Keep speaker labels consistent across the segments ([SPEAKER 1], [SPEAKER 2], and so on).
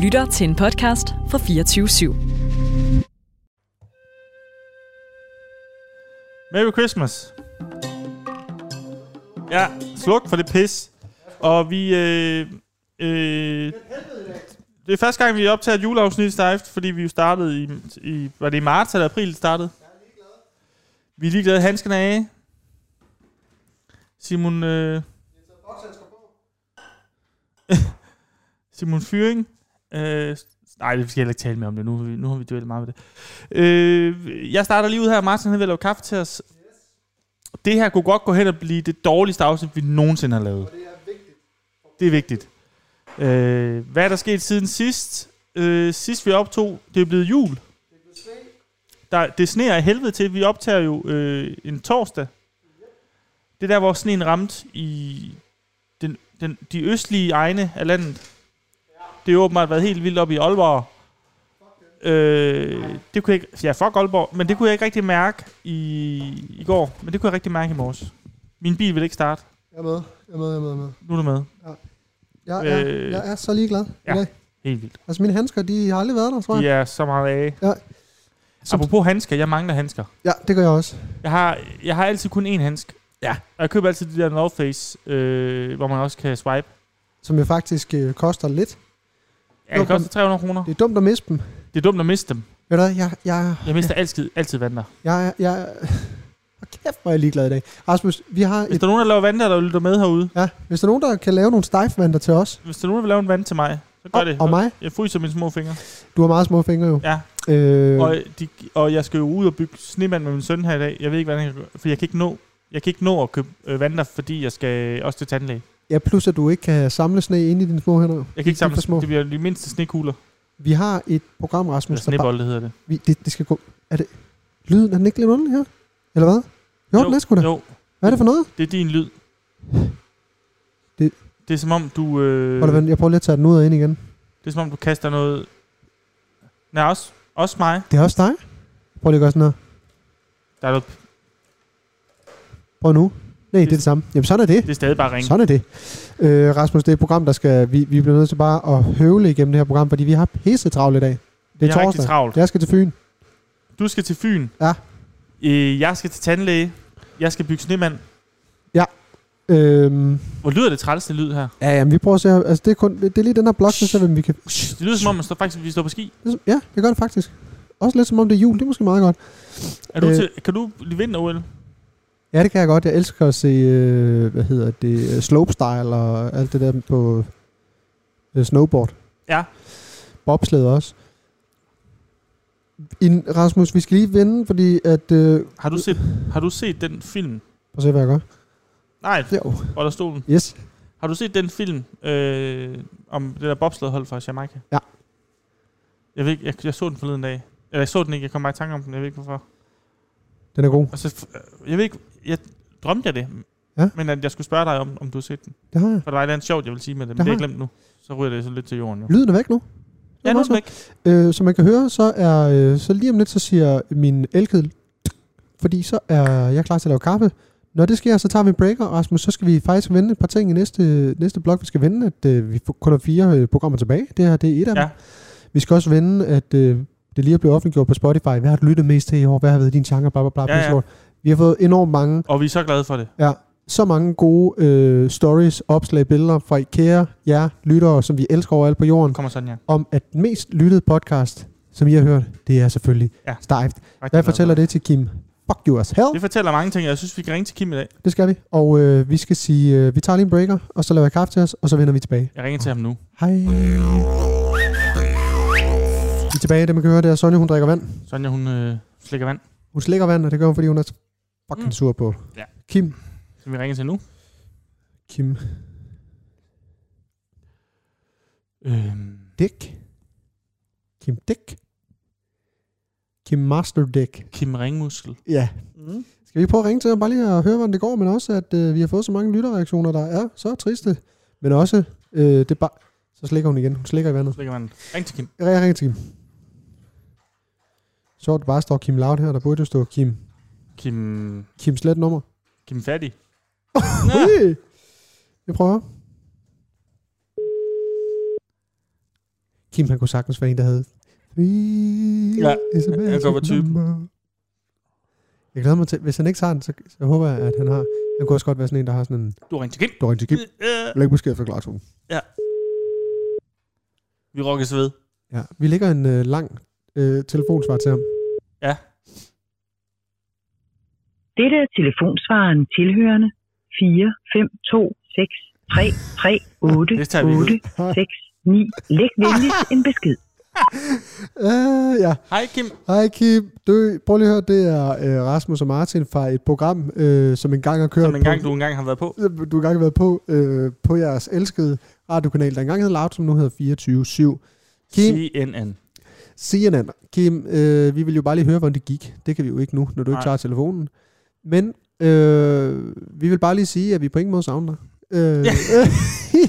[SPEAKER 1] lytter til en podcast fra 24 /7.
[SPEAKER 2] Merry Christmas. Ja, sluk for det pis. Og vi... Øh, øh, det er første gang, vi optager et juleafsnit stejft, fordi vi jo startede i, i... Var det i marts eller april, det startede? Vi er ligeglade. Hanskerne er af. Simon... Øh, Simon Fyring. Øh, nej, det skal jeg heller ikke tale mere om det. Nu, har vi- nu har vi duellet meget med det. Øh, jeg starter lige ud her. Martin han er ved at lave kaffe til os. Det her kunne godt gå hen og blive det dårligste afsnit, vi nogensinde har lavet. det er vigtigt. Det er vigtigt. Øh, hvad er der sket siden sidst? Øh, sidst vi optog, det er blevet jul. Der, det sneer af helvede til. Vi optager jo øh, en torsdag. Det er der, hvor sneen ramte i den, den, de østlige egne af landet. Det har åbenbart været helt vildt op i Aalborg. Øh, det kunne jeg ikke, ja, fuck Aalborg, men det kunne jeg ikke rigtig mærke i, i går, men det kunne jeg rigtig mærke i morges. Min bil vil ikke starte.
[SPEAKER 3] Jeg er med. Jeg er med, jeg er med, jeg er med.
[SPEAKER 2] Nu er du med.
[SPEAKER 3] Jeg er,
[SPEAKER 2] Øh.
[SPEAKER 3] jeg er så ligeglad
[SPEAKER 2] Ja.
[SPEAKER 3] ja. i dag.
[SPEAKER 2] Helt vildt.
[SPEAKER 3] Altså, mine handsker, de har aldrig været der, tror jeg.
[SPEAKER 2] De er så meget af.
[SPEAKER 3] Ja.
[SPEAKER 2] Så Apropos handsker, jeg mangler handsker.
[SPEAKER 3] Ja, det gør jeg også.
[SPEAKER 2] Jeg har, jeg har altid kun én handske.
[SPEAKER 3] Ja.
[SPEAKER 2] Og jeg køber altid de der North Face, øh, hvor man også kan swipe.
[SPEAKER 3] Som jo faktisk øh, koster lidt.
[SPEAKER 2] Ja, det
[SPEAKER 3] Okay.
[SPEAKER 2] koster 300 kroner.
[SPEAKER 3] Det er dumt at miste dem.
[SPEAKER 2] Det er dumt at miste dem.
[SPEAKER 3] Ved du hvad, jeg, jeg,
[SPEAKER 2] Jeg mister altid, altid vandre.
[SPEAKER 3] jeg, jeg, jeg, Hold kæft, hvor er jeg ligeglad i dag. Rasmus, vi har
[SPEAKER 2] Hvis
[SPEAKER 3] et...
[SPEAKER 2] der er nogen, der laver vandre, der lytter med herude,
[SPEAKER 3] Ja, hvis der er nogen, der kan lave nogle stejfvander til os,
[SPEAKER 2] Hvis der er nogen, der vil lave en vand til mig, så gør
[SPEAKER 3] og,
[SPEAKER 2] det.
[SPEAKER 3] og mig,
[SPEAKER 2] Jeg fryser mine små fingre.
[SPEAKER 3] du har meget små fingre jo.
[SPEAKER 2] Ja.
[SPEAKER 3] Øh,
[SPEAKER 2] Og, de, og jeg skal jo ud og bygge snemand med min søn her i dag. Jeg ved ikke, hvad han kan gøre, for jeg kan ikke nå, jeg kan ikke nå at købe øh, vandler, fordi jeg skal også til tandlæge.
[SPEAKER 3] ja, plus at du ikke kan samle sne ind i dine små hænder. jo.
[SPEAKER 2] Jeg kan ikke
[SPEAKER 3] De er
[SPEAKER 2] samle,
[SPEAKER 3] for små.
[SPEAKER 2] det bliver de mindste snekugler.
[SPEAKER 3] Vi har et program, Rasmus,
[SPEAKER 2] Eller snebold, det hedder det.
[SPEAKER 3] vi, det, det skal gå... Er det... Lyden, er den ikke lidt underlig her? Eller hvad? Jo, jo den er sgu da.
[SPEAKER 2] Jo,
[SPEAKER 3] Hvad er det for noget?
[SPEAKER 2] det er din lyd.
[SPEAKER 3] Det-
[SPEAKER 2] det er som om, du... Øh,
[SPEAKER 3] Hold da, vent, jeg prøver lige at tage den ud og ind igen.
[SPEAKER 2] det er som om, du kaster noget... Nej, også, også mig.
[SPEAKER 3] Det er også dig. Prøv lige at gøre sådan her.
[SPEAKER 2] Der er noget,
[SPEAKER 3] Prøv nu. Nej,
[SPEAKER 2] Det-
[SPEAKER 3] det, det er det samme. Jamen, sådan er det.
[SPEAKER 2] det er stadig bare ring.
[SPEAKER 3] Sådan er det. Øh, Rasmus, det er et program, der skal... Vi, vi bliver nødt til bare at høvle igennem det her program, fordi vi har pisse travlt i dag. Det er
[SPEAKER 2] jeg er rigtig
[SPEAKER 3] torsdag.
[SPEAKER 2] travlt.
[SPEAKER 3] Jeg skal til Fyn.
[SPEAKER 2] Du skal til Fyn.
[SPEAKER 3] Ja.
[SPEAKER 2] Øh, jeg skal til tandlæge. Jeg skal bygge snemand.
[SPEAKER 3] Øhm,
[SPEAKER 2] Hvor lyder det træls, det lyd her?
[SPEAKER 3] ja, jamen, vi prøver at se... her. Altså, det er, kun, det er lige den her blok, der ser, vi kan...
[SPEAKER 2] Det lyder som om, man står, faktisk, vi står på ski.
[SPEAKER 3] Ja, det gør det faktisk. Også lidt som om det er jul. Det er måske meget godt.
[SPEAKER 2] Er du
[SPEAKER 3] Øh.
[SPEAKER 2] til, kan du lige vinde OL?
[SPEAKER 3] Ja, det kan jeg godt. Jeg elsker at se, øh, hvad hedder det, øh, slopestyle og alt det der på øh, snowboard.
[SPEAKER 2] Ja.
[SPEAKER 3] Bobsled også. In, Rasmus, vi skal lige vende, fordi at... Øh, prøv
[SPEAKER 2] Har du set, har du set den film?
[SPEAKER 3] at se, hvad jeg gør.
[SPEAKER 2] Nej,
[SPEAKER 3] Jo.
[SPEAKER 2] Roller Stolen.
[SPEAKER 3] Yes.
[SPEAKER 2] Har du set den film øh, om det der bobsledhold fra Jamaica?
[SPEAKER 3] Ja.
[SPEAKER 2] Jeg, ved ikke, jeg, jeg så den forleden dag. Eller jeg så den ikke, jeg kom bare i tanke om den, jeg ved ikke hvorfor.
[SPEAKER 3] Den er god.
[SPEAKER 2] Og så, f- øh, jeg ved ikke, jeg drømte jeg det.
[SPEAKER 3] Ja.
[SPEAKER 2] Men at jeg skulle spørge dig om, om du har set den.
[SPEAKER 3] Det har jeg.
[SPEAKER 2] For der var et eller andet sjovt, jeg vil sige med det, men
[SPEAKER 3] Det
[SPEAKER 2] det er
[SPEAKER 3] har
[SPEAKER 2] glemt nu. Så ryger det så lidt til jorden jo.
[SPEAKER 3] Lyden er væk nu. Det
[SPEAKER 2] Ja, nu er
[SPEAKER 3] meget
[SPEAKER 2] den væk.
[SPEAKER 3] sjovt. Øh, som man kan høre, så er øh, så lige om lidt, så siger min elkedel, fordi så er jeg klar til at lave kaffe. Når det sker, så tager vi en breaker, Rasmus. Så skal vi faktisk vende et par ting i næste, næste blok. Vi skal vende, at øh, vi får- kun har fire øh, programmer tilbage. Det her, det er et af
[SPEAKER 2] Ja.
[SPEAKER 3] dem. Vi skal også vende, at øh, det lige er blevet offentliggjort på Spotify. Hvad har du lyttet mest til i år? Hvad har været din genre? Bla, bla, bla,
[SPEAKER 2] Ja, ja.
[SPEAKER 3] ja, ja. Vi har fået enormt mange,
[SPEAKER 2] Og vi er så glade for det.
[SPEAKER 3] så mange gode øh, stories, opslag, billeder fra IKEA, jer lyttere, som vi elsker overalt på jorden
[SPEAKER 2] Kommer sådan, ja.
[SPEAKER 3] om, at den mest lyttede podcast, som I har hørt, det er selvfølgelig
[SPEAKER 2] Ja.
[SPEAKER 3] ja. Stejft.
[SPEAKER 2] Rigtig
[SPEAKER 3] Hvad
[SPEAKER 2] glad
[SPEAKER 3] fortæller
[SPEAKER 2] for
[SPEAKER 3] det til Kim? Fuck you as hell.
[SPEAKER 2] Det fortæller mange ting, og jeg synes, vi kan ringe til Kim i dag.
[SPEAKER 3] Det skal vi. Og øh, vi skal sige, øh, vi tager lige en breaker, og så laver jeg kaffe til os, og så vender vi tilbage.
[SPEAKER 2] Jeg ringer til ham nu.
[SPEAKER 3] Hej. Vi er tilbage. Det man kan høre, det er Sonja, hun drikker vand.
[SPEAKER 2] Sonja, hun øh, slikker vand,
[SPEAKER 3] Hun slikker vand, og det gør hun, fordi hun er fucking
[SPEAKER 2] Mm.
[SPEAKER 3] sur på.
[SPEAKER 2] Ja.
[SPEAKER 3] Kim.
[SPEAKER 2] som vi ringer til nu.
[SPEAKER 3] Kim.
[SPEAKER 2] Øhm,
[SPEAKER 3] Dick. Kim Dick. Kim Master Dick.
[SPEAKER 2] Kim Ringmuskel.
[SPEAKER 3] Ja,
[SPEAKER 2] Mm.
[SPEAKER 3] Skal vi prøve at ringe til ham, bare lige at høre, hvordan det går, men også, at øh, vi har fået så mange lytterreaktioner, der er så triste, men også, øh, det er bare... Så slikker hun igen. Hun slikker i vandet.
[SPEAKER 2] Slikker vand. Ring til Kim.
[SPEAKER 3] Jeg jeg ringer til Kim. Så der bare står Kim Loud her, der burde jo stå Kim.
[SPEAKER 2] Kim,
[SPEAKER 3] Kim slet nummer.
[SPEAKER 2] Kim Fattig.
[SPEAKER 3] Hey! Jeg prøver. Kim, han kunne sagtens være en, der havde...
[SPEAKER 2] Ja,
[SPEAKER 3] ja,
[SPEAKER 2] han går på typen.
[SPEAKER 3] Jeg glæder mig til, hvis han ikke har den, så, så håber jeg, at han har... Han kunne også godt være sådan en, der har sådan en...
[SPEAKER 2] Du har ringet til Kim.
[SPEAKER 3] Du ringer til Kim.
[SPEAKER 2] Øh,
[SPEAKER 3] Læg besked for Glaxo.
[SPEAKER 2] Vi rokkes ved.
[SPEAKER 3] Ja, vi lægger en øh, lang øh, telefonsvar til ham.
[SPEAKER 4] Dette er telefonsvaren tilhørende 4 5 2 6 3 3 8
[SPEAKER 2] Det tager vi ud.
[SPEAKER 4] 8 6 9. Læg venligst en besked.
[SPEAKER 3] Øh, ja.
[SPEAKER 2] Hej Kim.
[SPEAKER 3] Hej Kim. Du, prøv lige at høre, det er øh, Rasmus og Martin fra et program, øh, som engang har kørt
[SPEAKER 2] Som en gang,
[SPEAKER 3] på,
[SPEAKER 2] du engang har været på.
[SPEAKER 3] du... du engang har været på, øh, på jeres elskede radiokanal, der engang hed Loud, som nu hedder 24-7. Kim,
[SPEAKER 2] CNN.
[SPEAKER 3] CNN. Kim, øh, vi vil jo bare lige høre, hvordan det gik. Det kan vi jo ikke nu, når du ikke
[SPEAKER 2] Nej.
[SPEAKER 3] tager telefonen. Men øh, vi vil bare lige sige, at vi på ingen måde savner dig. Øh,
[SPEAKER 2] Ja.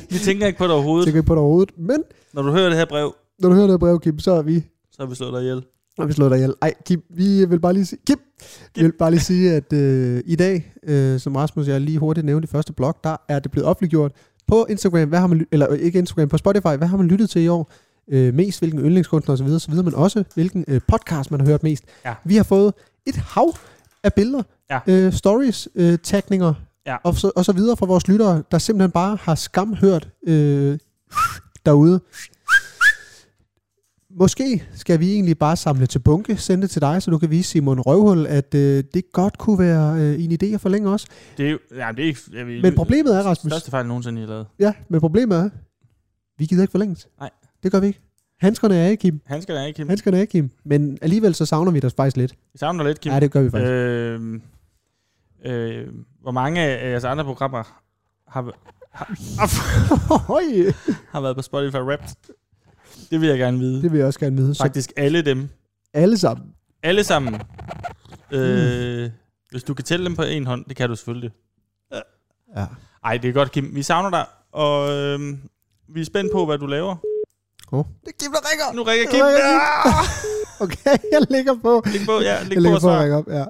[SPEAKER 2] Vi tænker ikke på det overhovedet.
[SPEAKER 3] tænker ikke på det overhovedet. Men
[SPEAKER 2] Når du hører det her brev,
[SPEAKER 3] når du hører det her brev, Kim, så er vi
[SPEAKER 2] så har vi slået dig ihjel.
[SPEAKER 3] Og vi slår dig ihjel. Ej, Kim, vi vil bare lige sige, Kim, vi vil bare lige sige at øh, i dag, øh, som Rasmus og jeg lige hurtigt nævnte i første blog, der er det blevet offentliggjort på Instagram, hvad har man, ly- eller øh, ikke Instagram, på Spotify, hvad har man lyttet til i år? Øh, mest, hvilken yndlingskunstner osv., osv., men også hvilken øh, podcast, man har hørt mest.
[SPEAKER 2] Ja.
[SPEAKER 3] Vi har fået et hav af billeder,
[SPEAKER 2] Ja.
[SPEAKER 3] øh, stories, øh, tagninger
[SPEAKER 2] Ja.
[SPEAKER 3] og, så, og så videre fra vores lyttere, der simpelthen bare har skamhørt øh, derude. Måske skal vi egentlig bare samle til bunke, sende det til dig, så du kan vise Simon Røvhul, at øh, det godt kunne være øh, en idé at forlænge os.
[SPEAKER 2] Det er jo... Ja, det er ikke... Jeg vil,
[SPEAKER 3] Men problemet er, Rasmus,
[SPEAKER 2] Største fejl nogensinde, jeg har lavet.
[SPEAKER 3] ja, men problemet er, vi gider ikke forlænges.
[SPEAKER 2] Nej.
[SPEAKER 3] Det gør vi ikke. Handskerne er af, Kim.
[SPEAKER 2] Han skal da ikke, Kim.
[SPEAKER 3] Handskerne er af, Kim. Men alligevel så savner vi dig faktisk lidt.
[SPEAKER 2] Vi savner dig lidt, Kim.
[SPEAKER 3] Ja, det gør vi faktisk.
[SPEAKER 2] Øh, øh, hvor mange af jeres andre programmer har, har,
[SPEAKER 3] Høj,
[SPEAKER 2] har været på Spotify Wrapped? Det vil jeg gerne vide.
[SPEAKER 3] det vil jeg også gerne vide. Så
[SPEAKER 2] Faktisk alle dem.
[SPEAKER 3] alle sammen.
[SPEAKER 2] Alle sammen.
[SPEAKER 3] Mm.
[SPEAKER 2] Øh, Hvis du kan tælle dem på en hånd, det kan du selvfølgelig.
[SPEAKER 3] Ja.
[SPEAKER 2] Ej, det er godt, Kim. Vi savner dig, og øh, vi er spændt på, hvad du laver.
[SPEAKER 3] Oh.
[SPEAKER 2] Det er Kim, der ringer. Nu ringer Kim.
[SPEAKER 3] Nu ringer
[SPEAKER 2] Ja!
[SPEAKER 3] Okay, jeg ligger på.
[SPEAKER 2] Læg på, ja. Læg
[SPEAKER 3] Jeg
[SPEAKER 2] på
[SPEAKER 3] ligger
[SPEAKER 2] og
[SPEAKER 3] på at
[SPEAKER 2] svar.
[SPEAKER 3] ringe op, ja.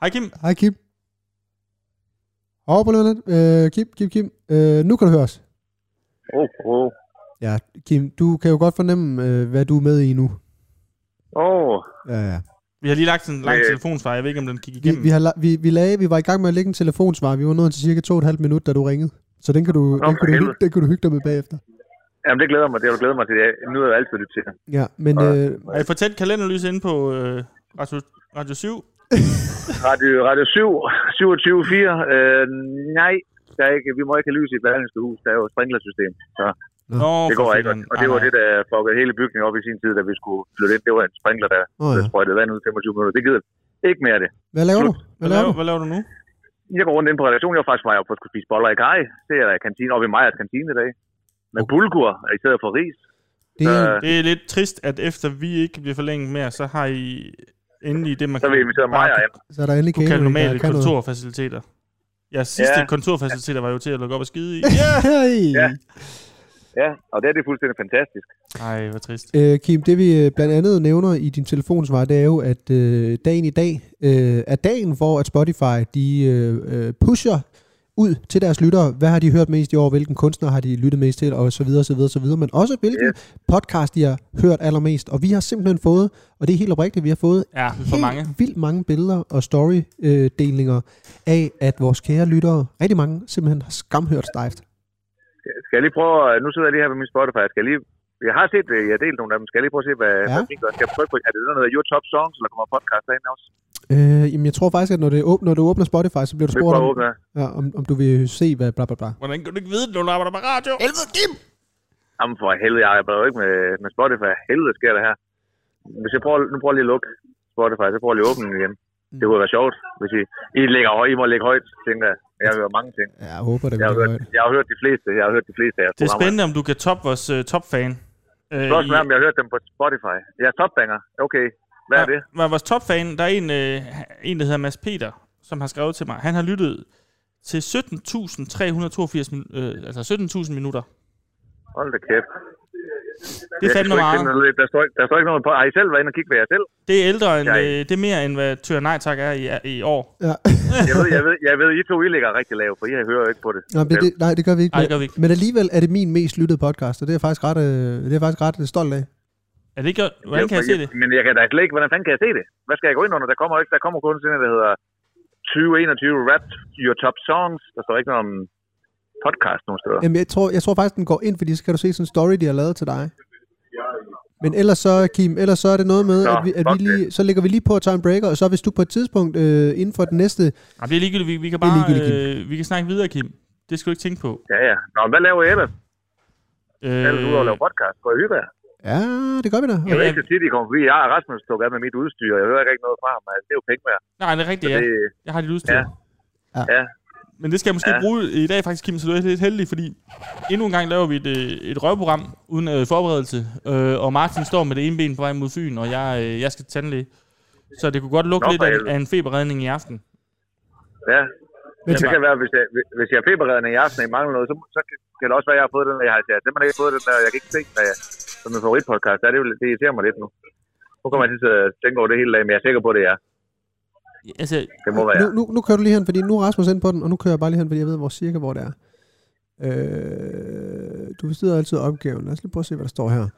[SPEAKER 2] Hej, Kim.
[SPEAKER 3] Hej Kim. Hov, prøv lige at vente lidt. Øh, Kim, Kim, Kim. Øh, nu kan du høre os.
[SPEAKER 5] Åh, oh,
[SPEAKER 3] Ja, Kim, du kan jo godt fornemme, øh, hvad du er med i nu.
[SPEAKER 5] oh.
[SPEAKER 3] Ja, ja.
[SPEAKER 2] Vi har lige lagt en lang
[SPEAKER 5] Øh.
[SPEAKER 2] telefonsvar. Jeg ved ikke, om den gik
[SPEAKER 3] Vi,
[SPEAKER 2] igennem.
[SPEAKER 3] vi, har, la- vi, vi, lagde, vi var i gang med at lægge en telefonsvar. Vi var nået til cirka to og et halvt minut, da du ringede. Så den kan du, den
[SPEAKER 5] for
[SPEAKER 3] kan du,
[SPEAKER 5] helvede.
[SPEAKER 3] hy- den kan du hygge dig med bagefter.
[SPEAKER 5] Jamen, det glæder mig. Det har du glædet mig til. Jeg- Nu er jeg altid lyttet til dig.
[SPEAKER 3] Ja, men
[SPEAKER 5] Ja.
[SPEAKER 3] øh,
[SPEAKER 2] Har I fortændt kalenderlys inde på øh, Radio, Radio 7?
[SPEAKER 5] Radio, Radio 7, 27.4. Øh, nej, der er ikke, vi må ikke have lys i et berlingske hus. Der er jo et sprinklersystem. Så
[SPEAKER 2] Nå,
[SPEAKER 5] det
[SPEAKER 2] for
[SPEAKER 5] går ikke.
[SPEAKER 2] filan.
[SPEAKER 5] Og det
[SPEAKER 2] Nej,
[SPEAKER 5] var
[SPEAKER 2] nej.
[SPEAKER 5] det, der fuckede hele bygningen op i sin tid, da vi skulle flytte ind. Det var en sprinkler, der
[SPEAKER 3] åh,
[SPEAKER 5] der
[SPEAKER 3] ja.
[SPEAKER 5] sprøjtede vand ud i 25 minutter. Det gider vi ikke mere af det.
[SPEAKER 3] hvad laver du?
[SPEAKER 2] Hvad
[SPEAKER 3] Hvad
[SPEAKER 2] laver,
[SPEAKER 3] laver
[SPEAKER 2] hvad laver du nu?
[SPEAKER 5] Jeg går rundt ind på redaktionen. Jeg var faktisk på vej op for at skulle spise boller i kaj. Det er der i kantinen oppe i Majers kantine i dag. Med bulgur i stedet for ris.
[SPEAKER 3] Det er,
[SPEAKER 2] Det er lidt trist, at efter vi ikke bliver forlænget mere, så har I endelig det, man
[SPEAKER 5] Så vi inviterer
[SPEAKER 2] bare
[SPEAKER 5] Maja
[SPEAKER 2] kunne-
[SPEAKER 5] ind.
[SPEAKER 3] så er der endelig
[SPEAKER 2] kunne kalde
[SPEAKER 3] catering, der
[SPEAKER 2] normale
[SPEAKER 3] kan noget.
[SPEAKER 2] kontorfaciliteter. Ja, sidste
[SPEAKER 5] Ja.
[SPEAKER 2] kontorfaciliteter var jo til at lukke op og skide i.
[SPEAKER 3] Hey!
[SPEAKER 5] Ja. Ja, og det er det fuldstændig fantastisk.
[SPEAKER 2] Nej, hvor trist.
[SPEAKER 3] Øh, Kim, det vi øh, blandt andet nævner i din telefonsvar, det er jo, at øh, dagen i dag øh, er dagen, hvor at Spotify de øh, øh, pusher ud til deres lyttere, hvad har de hørt mest i år, hvilken kunstner har de lyttet mest til, og så videre, så videre, så videre, men også hvilken podcast de har hørt allermest. Og vi har simpelthen fået, og det er helt oprigtigt, vi har fået
[SPEAKER 2] Ja, for mange.
[SPEAKER 3] helt vildt mange billeder og story-delinger øh, af, at vores kære lyttere, rigtig mange, simpelthen har skamhørt stejft.
[SPEAKER 5] Skal jeg lige prøve, at- nu sidder jeg lige her med min Spotify, skal jeg lige, jeg har set, øh, jeg har delt nogle af dem, skal jeg lige prøve at se, hvad,
[SPEAKER 3] Ja.
[SPEAKER 5] ja. hvad de gør? Skal jeg prøve på, er det noget, der hedder Your Top Songs, eller kommer podcast derinde også?
[SPEAKER 3] Øh, jamen, jeg tror faktisk, at når, det åb- når du åbner Spotify, så bliver du
[SPEAKER 5] Det er
[SPEAKER 3] spurgt
[SPEAKER 5] bare
[SPEAKER 3] om,
[SPEAKER 5] åbne.
[SPEAKER 3] Ja, om, om du vil se, hvad bla bla bla.
[SPEAKER 2] Hvordan kan du ikke vide det, når du arbejder med radio?
[SPEAKER 5] Jamen for helvede, jeg arbejder jo ikke med, med Spotify. Helvede sker det her. Hvis jeg prøver, nu prøver jeg lige at lukke Spotify, så prøver jeg lige at åbne den igen.
[SPEAKER 3] Mm.
[SPEAKER 5] Det kunne være sjovt, hvis I, I, lægger, høj- I må lægge højt, tænker jeg. Jeg hører mange ting.
[SPEAKER 3] Ja, jeg håber, det
[SPEAKER 5] Jeg har,
[SPEAKER 3] bliver
[SPEAKER 5] hørt,
[SPEAKER 3] højt.
[SPEAKER 5] jeg har hørt de fleste, jeg har hørt de fleste af jeres
[SPEAKER 2] Det er
[SPEAKER 5] programmer.
[SPEAKER 2] spændende, om du kan toppe vores uh, topfan. Uh,
[SPEAKER 5] Spørgsmålet er, om jeg har hørt dem på Spotify. Jeg er topbanger. Okay, hvad er det?
[SPEAKER 2] Var vores topfan, der er en, øh, en, der hedder Mads Peter, som har skrevet til mig. Han har lyttet til 17.382 min- øh, altså 17.000 minutter.
[SPEAKER 5] Hold da kæft.
[SPEAKER 2] Det er
[SPEAKER 5] Jeg
[SPEAKER 2] fandme
[SPEAKER 5] kan sgu ikke
[SPEAKER 2] meget.
[SPEAKER 5] finde noget lidt. Der står, ikke- der står ikke noget på. Har I selv været inde og kigge ved jer selv?
[SPEAKER 2] Det er ældre end,
[SPEAKER 5] Jeg-
[SPEAKER 2] øh, det er mere end hvad Tyr Nej Tak er i, i år.
[SPEAKER 3] Ja.
[SPEAKER 5] Jeg ved, jeg ved, jeg ved I to I ligger rigtig lavt, for I hører jo ikke på det.
[SPEAKER 3] Nå, men det, nej, det gør vi ikke.
[SPEAKER 2] Nej, det
[SPEAKER 3] men-
[SPEAKER 2] gør vi ikke.
[SPEAKER 3] Men alligevel er det min mest lyttede podcast, og det er jeg faktisk ret, øh, det er jeg faktisk ret øh, stolt af.
[SPEAKER 2] Er det ikke gjort? Hvordan kan jeg se det?
[SPEAKER 5] Men jeg kan da slet ikke, hvordan fanden kan jeg se det? Hvad skal jeg gå ind under? Der kommer, jo ikke, der kommer kun sådan en, der hedder 2021 Rap Your Top Songs. Der står ikke noget om podcast nogen steder.
[SPEAKER 3] Jamen, jeg tror, jeg tror faktisk, den går ind, fordi så kan du se sådan en story, de har lavet til dig. Men ellers så, Kim, ellers så er det noget med,
[SPEAKER 5] Nå,
[SPEAKER 3] at, vi, at vi
[SPEAKER 5] fuck
[SPEAKER 3] lige, så lægger vi lige på at tage en breaker, og så hvis du på et tidspunkt øh, inden for den næste...
[SPEAKER 2] Jamen, det er ligegyldigt. Vi, vi kan
[SPEAKER 3] Det er
[SPEAKER 2] bare
[SPEAKER 3] ligegyldigt,
[SPEAKER 2] øh, vi kan snakke videre, Kim. Det skal du ikke tænke på.
[SPEAKER 5] Ja, ja. Nå, men hvad laver I ellers?
[SPEAKER 2] Øh,
[SPEAKER 5] Ellers udover at lave podcast. Går I hygge jer?
[SPEAKER 3] Ja, det gør vi da.
[SPEAKER 5] Jeg ved
[SPEAKER 2] Ja.
[SPEAKER 5] ikke, så tit I kommer forbi. Jeg og Rasmus tog af med mit udstyr. Jeg hører ikke rigtig noget fra ham. Altså, det er jo penge værd.
[SPEAKER 2] nej, det er rigtigt,
[SPEAKER 5] Ja.
[SPEAKER 2] ja.
[SPEAKER 5] Det,
[SPEAKER 2] Jeg har dit udstyr.
[SPEAKER 5] Ja. ja.
[SPEAKER 2] Men det skal jeg måske ja.
[SPEAKER 5] Ja.
[SPEAKER 2] bruge i dag faktisk, Kim, så du er lidt heldig, fordi endnu en gang laver vi et, øh, et røvprogram uden øh, forberedelse, øh, og Martin står med det ene ben på vej mod Fyn, og jeg, øh, jeg skal til tandlæge. Så det kunne godt lukke
[SPEAKER 5] Nå,
[SPEAKER 2] lidt
[SPEAKER 5] for
[SPEAKER 2] af,
[SPEAKER 5] helvede.
[SPEAKER 2] af en feberredning i aften.
[SPEAKER 5] ja.
[SPEAKER 3] Men
[SPEAKER 5] Men det
[SPEAKER 2] tak.
[SPEAKER 5] kan være, hvis jeg, hvis jeg er feberredende i aften, og I mangler noget, så, så kan det også være, at jeg har fået den, der jeg har jeg har simpelthen ikke fået den der, jeg kan ikke se, hvad jeg, som min favoritpodcast er. Det, vil- det irriterer mig lidt nu. Nu kommer jeg til at tænke over det hele dagen, men jeg er sikker på, det er.
[SPEAKER 2] Altså,
[SPEAKER 5] Det må være.
[SPEAKER 3] Nu, nu, nu kører du lige hen, fordi nu er Rasmus ind på den, og nu kører jeg bare lige hen, fordi jeg ved hvor cirka, hvor det er. Øh, du bestrider altid opgaven. Lad os lige prøve at se, hvad der står her.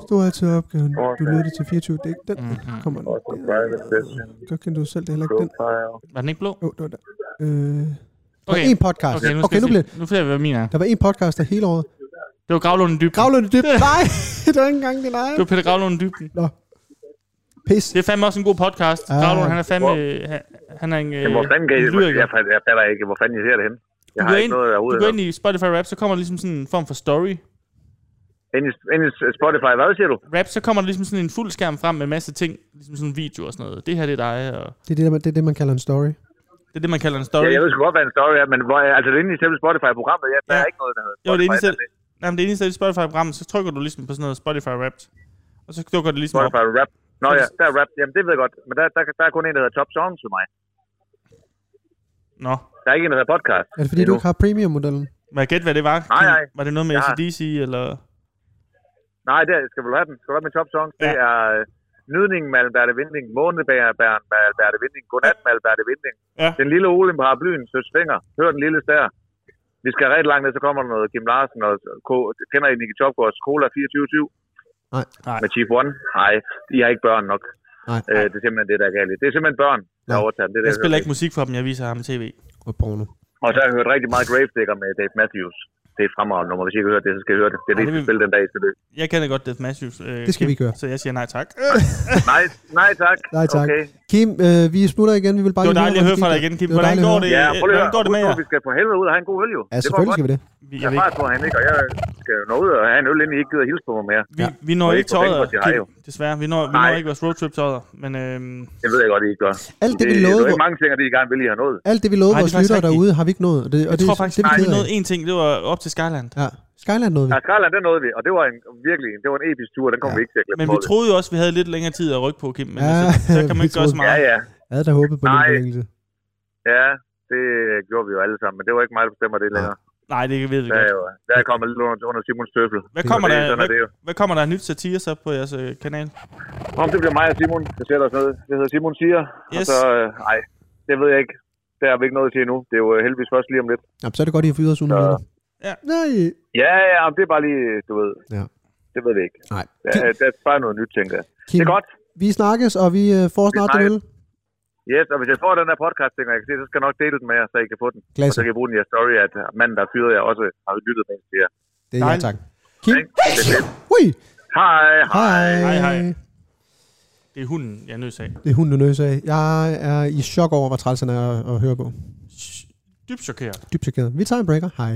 [SPEAKER 3] Du står altid opgaven. Du lytter til 24. Det er ikke den.
[SPEAKER 2] Mhm.
[SPEAKER 3] Kommer den.
[SPEAKER 5] Også private session.
[SPEAKER 3] Godt kender du selv, det er heller ikke den.
[SPEAKER 5] Profile.
[SPEAKER 2] var den ikke blå?
[SPEAKER 3] Jo, det var der. Øh, der
[SPEAKER 2] Okay.
[SPEAKER 3] var en podcast.
[SPEAKER 2] Okay, nu, skal
[SPEAKER 3] okay,
[SPEAKER 2] jeg
[SPEAKER 3] nu
[SPEAKER 2] se-
[SPEAKER 3] bliver
[SPEAKER 2] nu finder jeg, hvad min er.
[SPEAKER 3] der var en podcast der hele året.
[SPEAKER 2] Det var Gravlunden Dybden.
[SPEAKER 3] Gravlund dyb. Nej, det var ikke engang det, nej.
[SPEAKER 2] Det var Peter Gravlunden Dybden.
[SPEAKER 3] Nå. Pis.
[SPEAKER 2] Det er fandme også en god podcast.
[SPEAKER 3] Ah.
[SPEAKER 2] Ah. Gravlund, han er fandme... øh, Han, han er en, øh,
[SPEAKER 5] Men hvor fanden kan I,
[SPEAKER 2] en lyriker.
[SPEAKER 5] jeg, jeg, jeg fatter ikke, hvor fanden I ser det henne. Jeg
[SPEAKER 2] Du
[SPEAKER 5] har
[SPEAKER 2] går ind,
[SPEAKER 5] ikke noget
[SPEAKER 2] du
[SPEAKER 5] derude.
[SPEAKER 2] går ind i Spotify Rap, så kommer der ligesom sådan en form for story.
[SPEAKER 5] Ind i, ind i Spotify, hvad siger du?
[SPEAKER 2] Rap, så kommer der ligesom sådan en fuld skærm frem med en masse ting. Ligesom sådan en video og sådan noget. Det her, det er dig, og
[SPEAKER 3] Det er det, der, det, er det man kalder en story.
[SPEAKER 2] det er det, man kalder en story.
[SPEAKER 5] Ja, jeg ved sgu godt, hvad en story er, men hvor, altså det er inde i selve Spotify-programmet. Ja, der
[SPEAKER 2] Ja.
[SPEAKER 5] er ikke noget, der hedder
[SPEAKER 2] Jo, det er inde i
[SPEAKER 5] Spotify.
[SPEAKER 2] selv- Nej, men det eneste er i Spotify-programmet, så trykker du ligesom på sådan noget Spotify Rap. Og så dukker det ligesom op.
[SPEAKER 5] Spotify rap. Nå
[SPEAKER 2] Så
[SPEAKER 5] ja,
[SPEAKER 2] det-
[SPEAKER 5] der er rap. Jamen, det ved jeg godt. Men der, der, der er kun en, der hedder Top Songs for mig.
[SPEAKER 2] Nå.
[SPEAKER 5] Der er ikke en, der hedder podcast.
[SPEAKER 3] Er det fordi, du
[SPEAKER 5] Endnu.
[SPEAKER 3] ikke har premium-modellen?
[SPEAKER 2] Må jeg gætte, hvad det var?
[SPEAKER 5] Nej,
[SPEAKER 2] Kim?
[SPEAKER 5] nej.
[SPEAKER 2] Var det noget med
[SPEAKER 5] Ja.
[SPEAKER 2] ACDC, eller...
[SPEAKER 5] Nej, der skal du have den. Skal du have min Top Songs? Det er øh, Nydningen med Alberte Vinding, Månebæren med Alberte Vinding, Godnat med Alberte Vinding,
[SPEAKER 2] Ja.
[SPEAKER 5] Den lille Ole med paraplyen, Søs Finger, Hør den lille stær. Vi skal rigtig langt ned, så kommer der noget Kim Larsen og K- kender I Nicky Topgaards Cola 24
[SPEAKER 3] Nej.
[SPEAKER 2] Nej.
[SPEAKER 5] Med Chief One? Nej, I har ikke børn nok.
[SPEAKER 3] Nej.
[SPEAKER 5] Øh, det er simpelthen det, der er galt. i. Det er simpelthen børn, der
[SPEAKER 3] Nej.
[SPEAKER 5] overtager den. det. er det,
[SPEAKER 2] Jeg spiller
[SPEAKER 5] hører.
[SPEAKER 2] ikke musik for dem, jeg viser ham tv.
[SPEAKER 3] Og porno.
[SPEAKER 5] Og så har jeg hørt rigtig meget Gravedigger med Dave Matthews. Det er et fremragende nummer. Hvis I ikke har hørt det, så skal I høre det. Det er det,
[SPEAKER 2] Ej,
[SPEAKER 5] I
[SPEAKER 2] det
[SPEAKER 5] skal
[SPEAKER 2] vil-
[SPEAKER 5] spille den dag, I skal det.
[SPEAKER 2] Jeg kender godt Death Matthews. Øh,
[SPEAKER 3] Det skal
[SPEAKER 2] Kim,
[SPEAKER 3] vi ikke gøre.
[SPEAKER 2] Så jeg siger nej tak.
[SPEAKER 5] Nej, nej tak.
[SPEAKER 3] Nej, tak.
[SPEAKER 5] Okay.
[SPEAKER 3] Kim, øh, vi smutter igen. Vi vil bare
[SPEAKER 2] Det var
[SPEAKER 3] lige
[SPEAKER 2] dejligt at høre fra dig
[SPEAKER 3] hvordan
[SPEAKER 2] igen, Kim.
[SPEAKER 3] Det var
[SPEAKER 2] Hvordan
[SPEAKER 3] dejligt at
[SPEAKER 2] går
[SPEAKER 3] høre.
[SPEAKER 2] det,
[SPEAKER 5] Ja, prøv
[SPEAKER 2] øh,
[SPEAKER 5] lige
[SPEAKER 2] hvordan
[SPEAKER 5] at
[SPEAKER 2] går det med
[SPEAKER 5] husk
[SPEAKER 2] jer?
[SPEAKER 5] nu, Vi skal for helvede ud og have en god øl, jo.
[SPEAKER 3] Ja, selvfølgelig skal vi det.
[SPEAKER 2] Vi,
[SPEAKER 5] Jeg
[SPEAKER 2] jeg
[SPEAKER 5] er
[SPEAKER 2] ved
[SPEAKER 5] fart
[SPEAKER 2] ikke,
[SPEAKER 5] på, at han ikke, og jeg skal jo nå ud og have en øl, inden I ikke gider hilse på mig mere.
[SPEAKER 2] vi, vi når
[SPEAKER 5] Og
[SPEAKER 2] ikke
[SPEAKER 5] ikke på Vengård til
[SPEAKER 2] tøjet,
[SPEAKER 5] Hejo.
[SPEAKER 2] Kim, desværre. Vi når, vi når
[SPEAKER 5] Nej.
[SPEAKER 2] ikke vores roadtrip tøjet, men øhm,
[SPEAKER 5] Det ved jeg godt, I ikke gør.
[SPEAKER 3] Alt det, vi
[SPEAKER 5] det,
[SPEAKER 3] lovede,
[SPEAKER 5] er
[SPEAKER 3] hvor-
[SPEAKER 5] ikke mange ting, at I gerne vil, I har nået.
[SPEAKER 3] alt det, vi lovede
[SPEAKER 2] Nej, det er
[SPEAKER 3] vores
[SPEAKER 2] faktisk
[SPEAKER 3] lyttere
[SPEAKER 2] rigtigt.
[SPEAKER 3] derude, har vi ikke nået. Og det, og
[SPEAKER 2] jeg
[SPEAKER 3] det,
[SPEAKER 2] tror faktisk,
[SPEAKER 3] det,
[SPEAKER 2] det,
[SPEAKER 3] er vi
[SPEAKER 2] vi
[SPEAKER 3] ked af.
[SPEAKER 2] nåede én ting, det var op til Skyland.
[SPEAKER 3] Ja, Skyland nåede vi.
[SPEAKER 5] Ja, Skralderen, den nåede vi, og det var en virkelig, det var en episk tur, den kom
[SPEAKER 3] Ja.
[SPEAKER 5] vi ikke til at glemme
[SPEAKER 2] Men vi
[SPEAKER 5] målet.
[SPEAKER 2] troede jo også, vi havde lidt længere tid at rykke på, Kim, men
[SPEAKER 3] Ja,
[SPEAKER 2] altså, så kan man
[SPEAKER 3] vi
[SPEAKER 2] ikke gøre så
[SPEAKER 3] troede-
[SPEAKER 5] Ja,
[SPEAKER 2] meget.
[SPEAKER 5] ja,
[SPEAKER 3] Jeg havde da håbet på
[SPEAKER 5] Nej.
[SPEAKER 3] lidt længelse.
[SPEAKER 5] ja, det gjorde vi jo alle sammen, men det var ikke mig, der bestemmer det længere.
[SPEAKER 2] Nej, det ved vi
[SPEAKER 5] Der er,
[SPEAKER 2] godt.
[SPEAKER 5] jo, der er kommet lidt under, under Simons tøffel.
[SPEAKER 2] Hvad kommer,
[SPEAKER 5] det,
[SPEAKER 2] der,
[SPEAKER 5] er sådan,
[SPEAKER 2] hvad,
[SPEAKER 5] er det, jo.
[SPEAKER 2] hvad kommer der af nyt satire så på jeres øh, kanal?
[SPEAKER 5] Om det bliver mig og Simon, der sætter os ned. Det hedder Simon Siger. Yes. Og
[SPEAKER 2] Yes.
[SPEAKER 5] så, øh, ej, det ved jeg ikke. Der er vi ikke noget til endnu. Det er jo øh, heldigvis først lige om lidt.
[SPEAKER 3] Nå, så er det godt, I har fyret os under
[SPEAKER 5] Så-
[SPEAKER 3] ja.
[SPEAKER 2] Ja.
[SPEAKER 3] Nej.
[SPEAKER 5] Ja, ja, men det er bare lige, du ved.
[SPEAKER 3] Ja.
[SPEAKER 5] Det ved vi ikke.
[SPEAKER 3] Nej.
[SPEAKER 5] Der,
[SPEAKER 3] Kim,
[SPEAKER 5] der er bare noget nyt, tænker jeg.
[SPEAKER 3] Kim,
[SPEAKER 5] Det er godt.
[SPEAKER 3] vi snakkes, og vi øh, får snart den
[SPEAKER 5] snakkes.
[SPEAKER 3] øl.
[SPEAKER 5] Yes, og hvis jeg får den her podcast, tænker jeg, kan se, så skal jeg nok dele den med jer, så I kan få den. Og
[SPEAKER 3] Klasse.
[SPEAKER 5] så kan jeg bruge den i jeres story, at manden, der fyrede jer, også har lyttet med til jer.
[SPEAKER 3] Det er ja,
[SPEAKER 2] Dejligt.
[SPEAKER 3] tak. Kim,
[SPEAKER 5] Ikke? Det er fedt.
[SPEAKER 3] hui.
[SPEAKER 5] Hej, hej.
[SPEAKER 3] Hej.
[SPEAKER 2] Hej, hej. Det er hunden, jeg er nødt til at
[SPEAKER 3] Det er hun, du nøs af. Jeg er i chok over, hvor træls han er at, at høre på.
[SPEAKER 2] Dybt chokeret.
[SPEAKER 3] Dybt chokeret. Vi tager en breaker. Hej.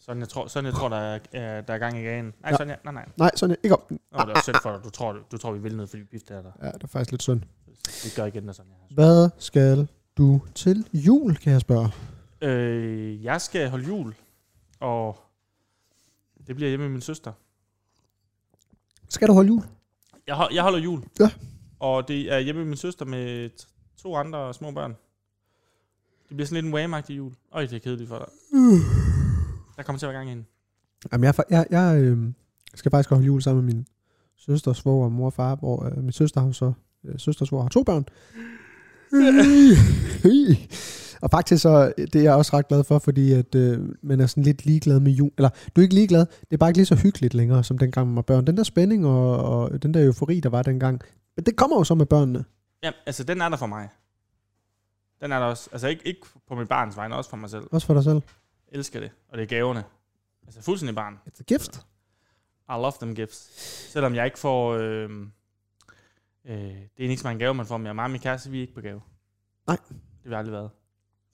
[SPEAKER 2] Sådan, jeg tror, sådan, jeg tror der, er, øh, der er gang i gagen. Nej,
[SPEAKER 3] Ja.
[SPEAKER 2] sådan, jeg, nej, nej.
[SPEAKER 3] Nej, sådan ikke op.
[SPEAKER 2] Nå, det er også synd for dig. Du tror, du, du tror, vi vil noget, fordi vi er der.
[SPEAKER 3] Ja, det er faktisk lidt synd.
[SPEAKER 2] Vi gør igen, og sådan, ja.
[SPEAKER 3] Hvad skal du til jul, kan jeg spørge?
[SPEAKER 2] Øh, jeg skal holde jul, og det bliver hjemme med min søster.
[SPEAKER 3] Skal du holde jul?
[SPEAKER 2] Jeg, hol- jeg holder jul.
[SPEAKER 3] Ja.
[SPEAKER 2] Og det er hjemme med min søster med t- to andre små børn. Det bliver sådan lidt en wham jul. Øj, det er kedeligt for dig. Der kommer til at være gang i hende.
[SPEAKER 3] Jamen, jeg, er fa- jeg, jeg øh, skal faktisk holde jul sammen med min søster, svoger, mor og far, hvor øh, min søster har jo så, øh, søster, svoger har to børn. og faktisk så, øh, det er jeg også ret glad for, fordi at, øh, man er sådan lidt ligeglad med jul. Eller, du er ikke ligeglad, det er bare ikke lige så hyggeligt længere, som dengang man var børn. Den der spænding og, og den der eufori, der var dengang, men det kommer jo så med børnene.
[SPEAKER 2] Jamen, altså, den er der for mig. Den er der også. Altså, ikke, ikke på mit barns vegne, også for mig selv.
[SPEAKER 3] Også for dig selv.
[SPEAKER 2] Jeg elsker det. Og det er gaverne. Altså, fuldstændig barn.
[SPEAKER 3] It's a gift.
[SPEAKER 2] I love them gifts. Selvom jeg ikke får... Øh, øh, det er ikke så mange gaver, man får, men jeg og mig og min kæreste, vi er ikke på gave.
[SPEAKER 3] Nej.
[SPEAKER 2] Det har vi aldrig været.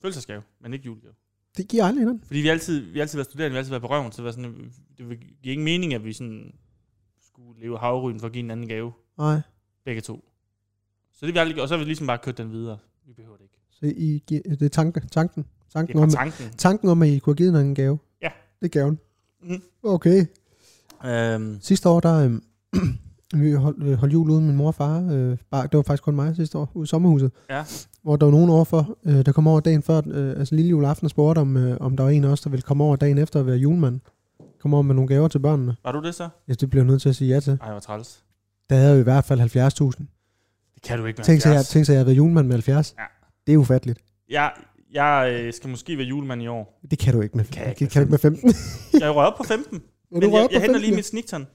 [SPEAKER 2] Følelsesgave, men ikke julegave.
[SPEAKER 3] Det giver aldrig hinanden.
[SPEAKER 2] Fordi vi har altid, vi har altid været studerende, vi har altid været på røven, så det, var sådan, det giver ingen mening, at vi sådan skulle leve havryden for at give en anden gave.
[SPEAKER 3] Nej.
[SPEAKER 2] Begge to. Så det har vi aldrig, gjort, og så har vi ligesom bare kørt den videre. Vi behøver det ikke.
[SPEAKER 3] Så I, giver- det er tanke, tanken.
[SPEAKER 2] Det
[SPEAKER 3] Tanken,
[SPEAKER 2] er
[SPEAKER 3] om,
[SPEAKER 2] bare tanken.
[SPEAKER 3] tanken om, at I kunne have givet hinanden en gave.
[SPEAKER 2] Ja.
[SPEAKER 3] Det er gaven.
[SPEAKER 2] Mhm.
[SPEAKER 3] Okay.
[SPEAKER 2] Øhm,
[SPEAKER 3] Sidste år, der øhm, vi holdt, øh, holdt jul ude med min mor og far. Øh, bare, det var faktisk kun mig sidste år, ude i sommerhuset.
[SPEAKER 2] Ja.
[SPEAKER 3] Hvor der var nogen overfor, øh, der kom over dagen før, øh, altså lille juleaften og spurgte, om, øh, om der var en af os, der ville komme over dagen efter at være julemand. Kom over med nogle gaver til børnene.
[SPEAKER 2] var du det så?
[SPEAKER 3] Ja, det blev jeg nødt til at sige ja til.
[SPEAKER 2] Ej, hvor træls.
[SPEAKER 3] Der havde jeg jo i hvert fald 70.000.
[SPEAKER 2] Det kan du ikke med
[SPEAKER 3] Tænk sig, jeg,
[SPEAKER 2] 70.
[SPEAKER 3] tænk sig, jeg havde været julemand med 70.
[SPEAKER 2] Ja.
[SPEAKER 3] Det er ufatteligt.
[SPEAKER 2] Jeg, jeg øh, skal måske være julemand i år.
[SPEAKER 3] Det kan du ikke med,
[SPEAKER 2] Kan jeg ikke
[SPEAKER 3] kan, kan du ikke med 15.
[SPEAKER 2] Jeg rører op på 15.
[SPEAKER 3] Men
[SPEAKER 2] Men
[SPEAKER 3] rører
[SPEAKER 2] jeg,
[SPEAKER 3] op
[SPEAKER 2] jeg
[SPEAKER 3] på
[SPEAKER 2] henter
[SPEAKER 3] 15,
[SPEAKER 2] lige
[SPEAKER 3] ja.
[SPEAKER 2] mit snikton.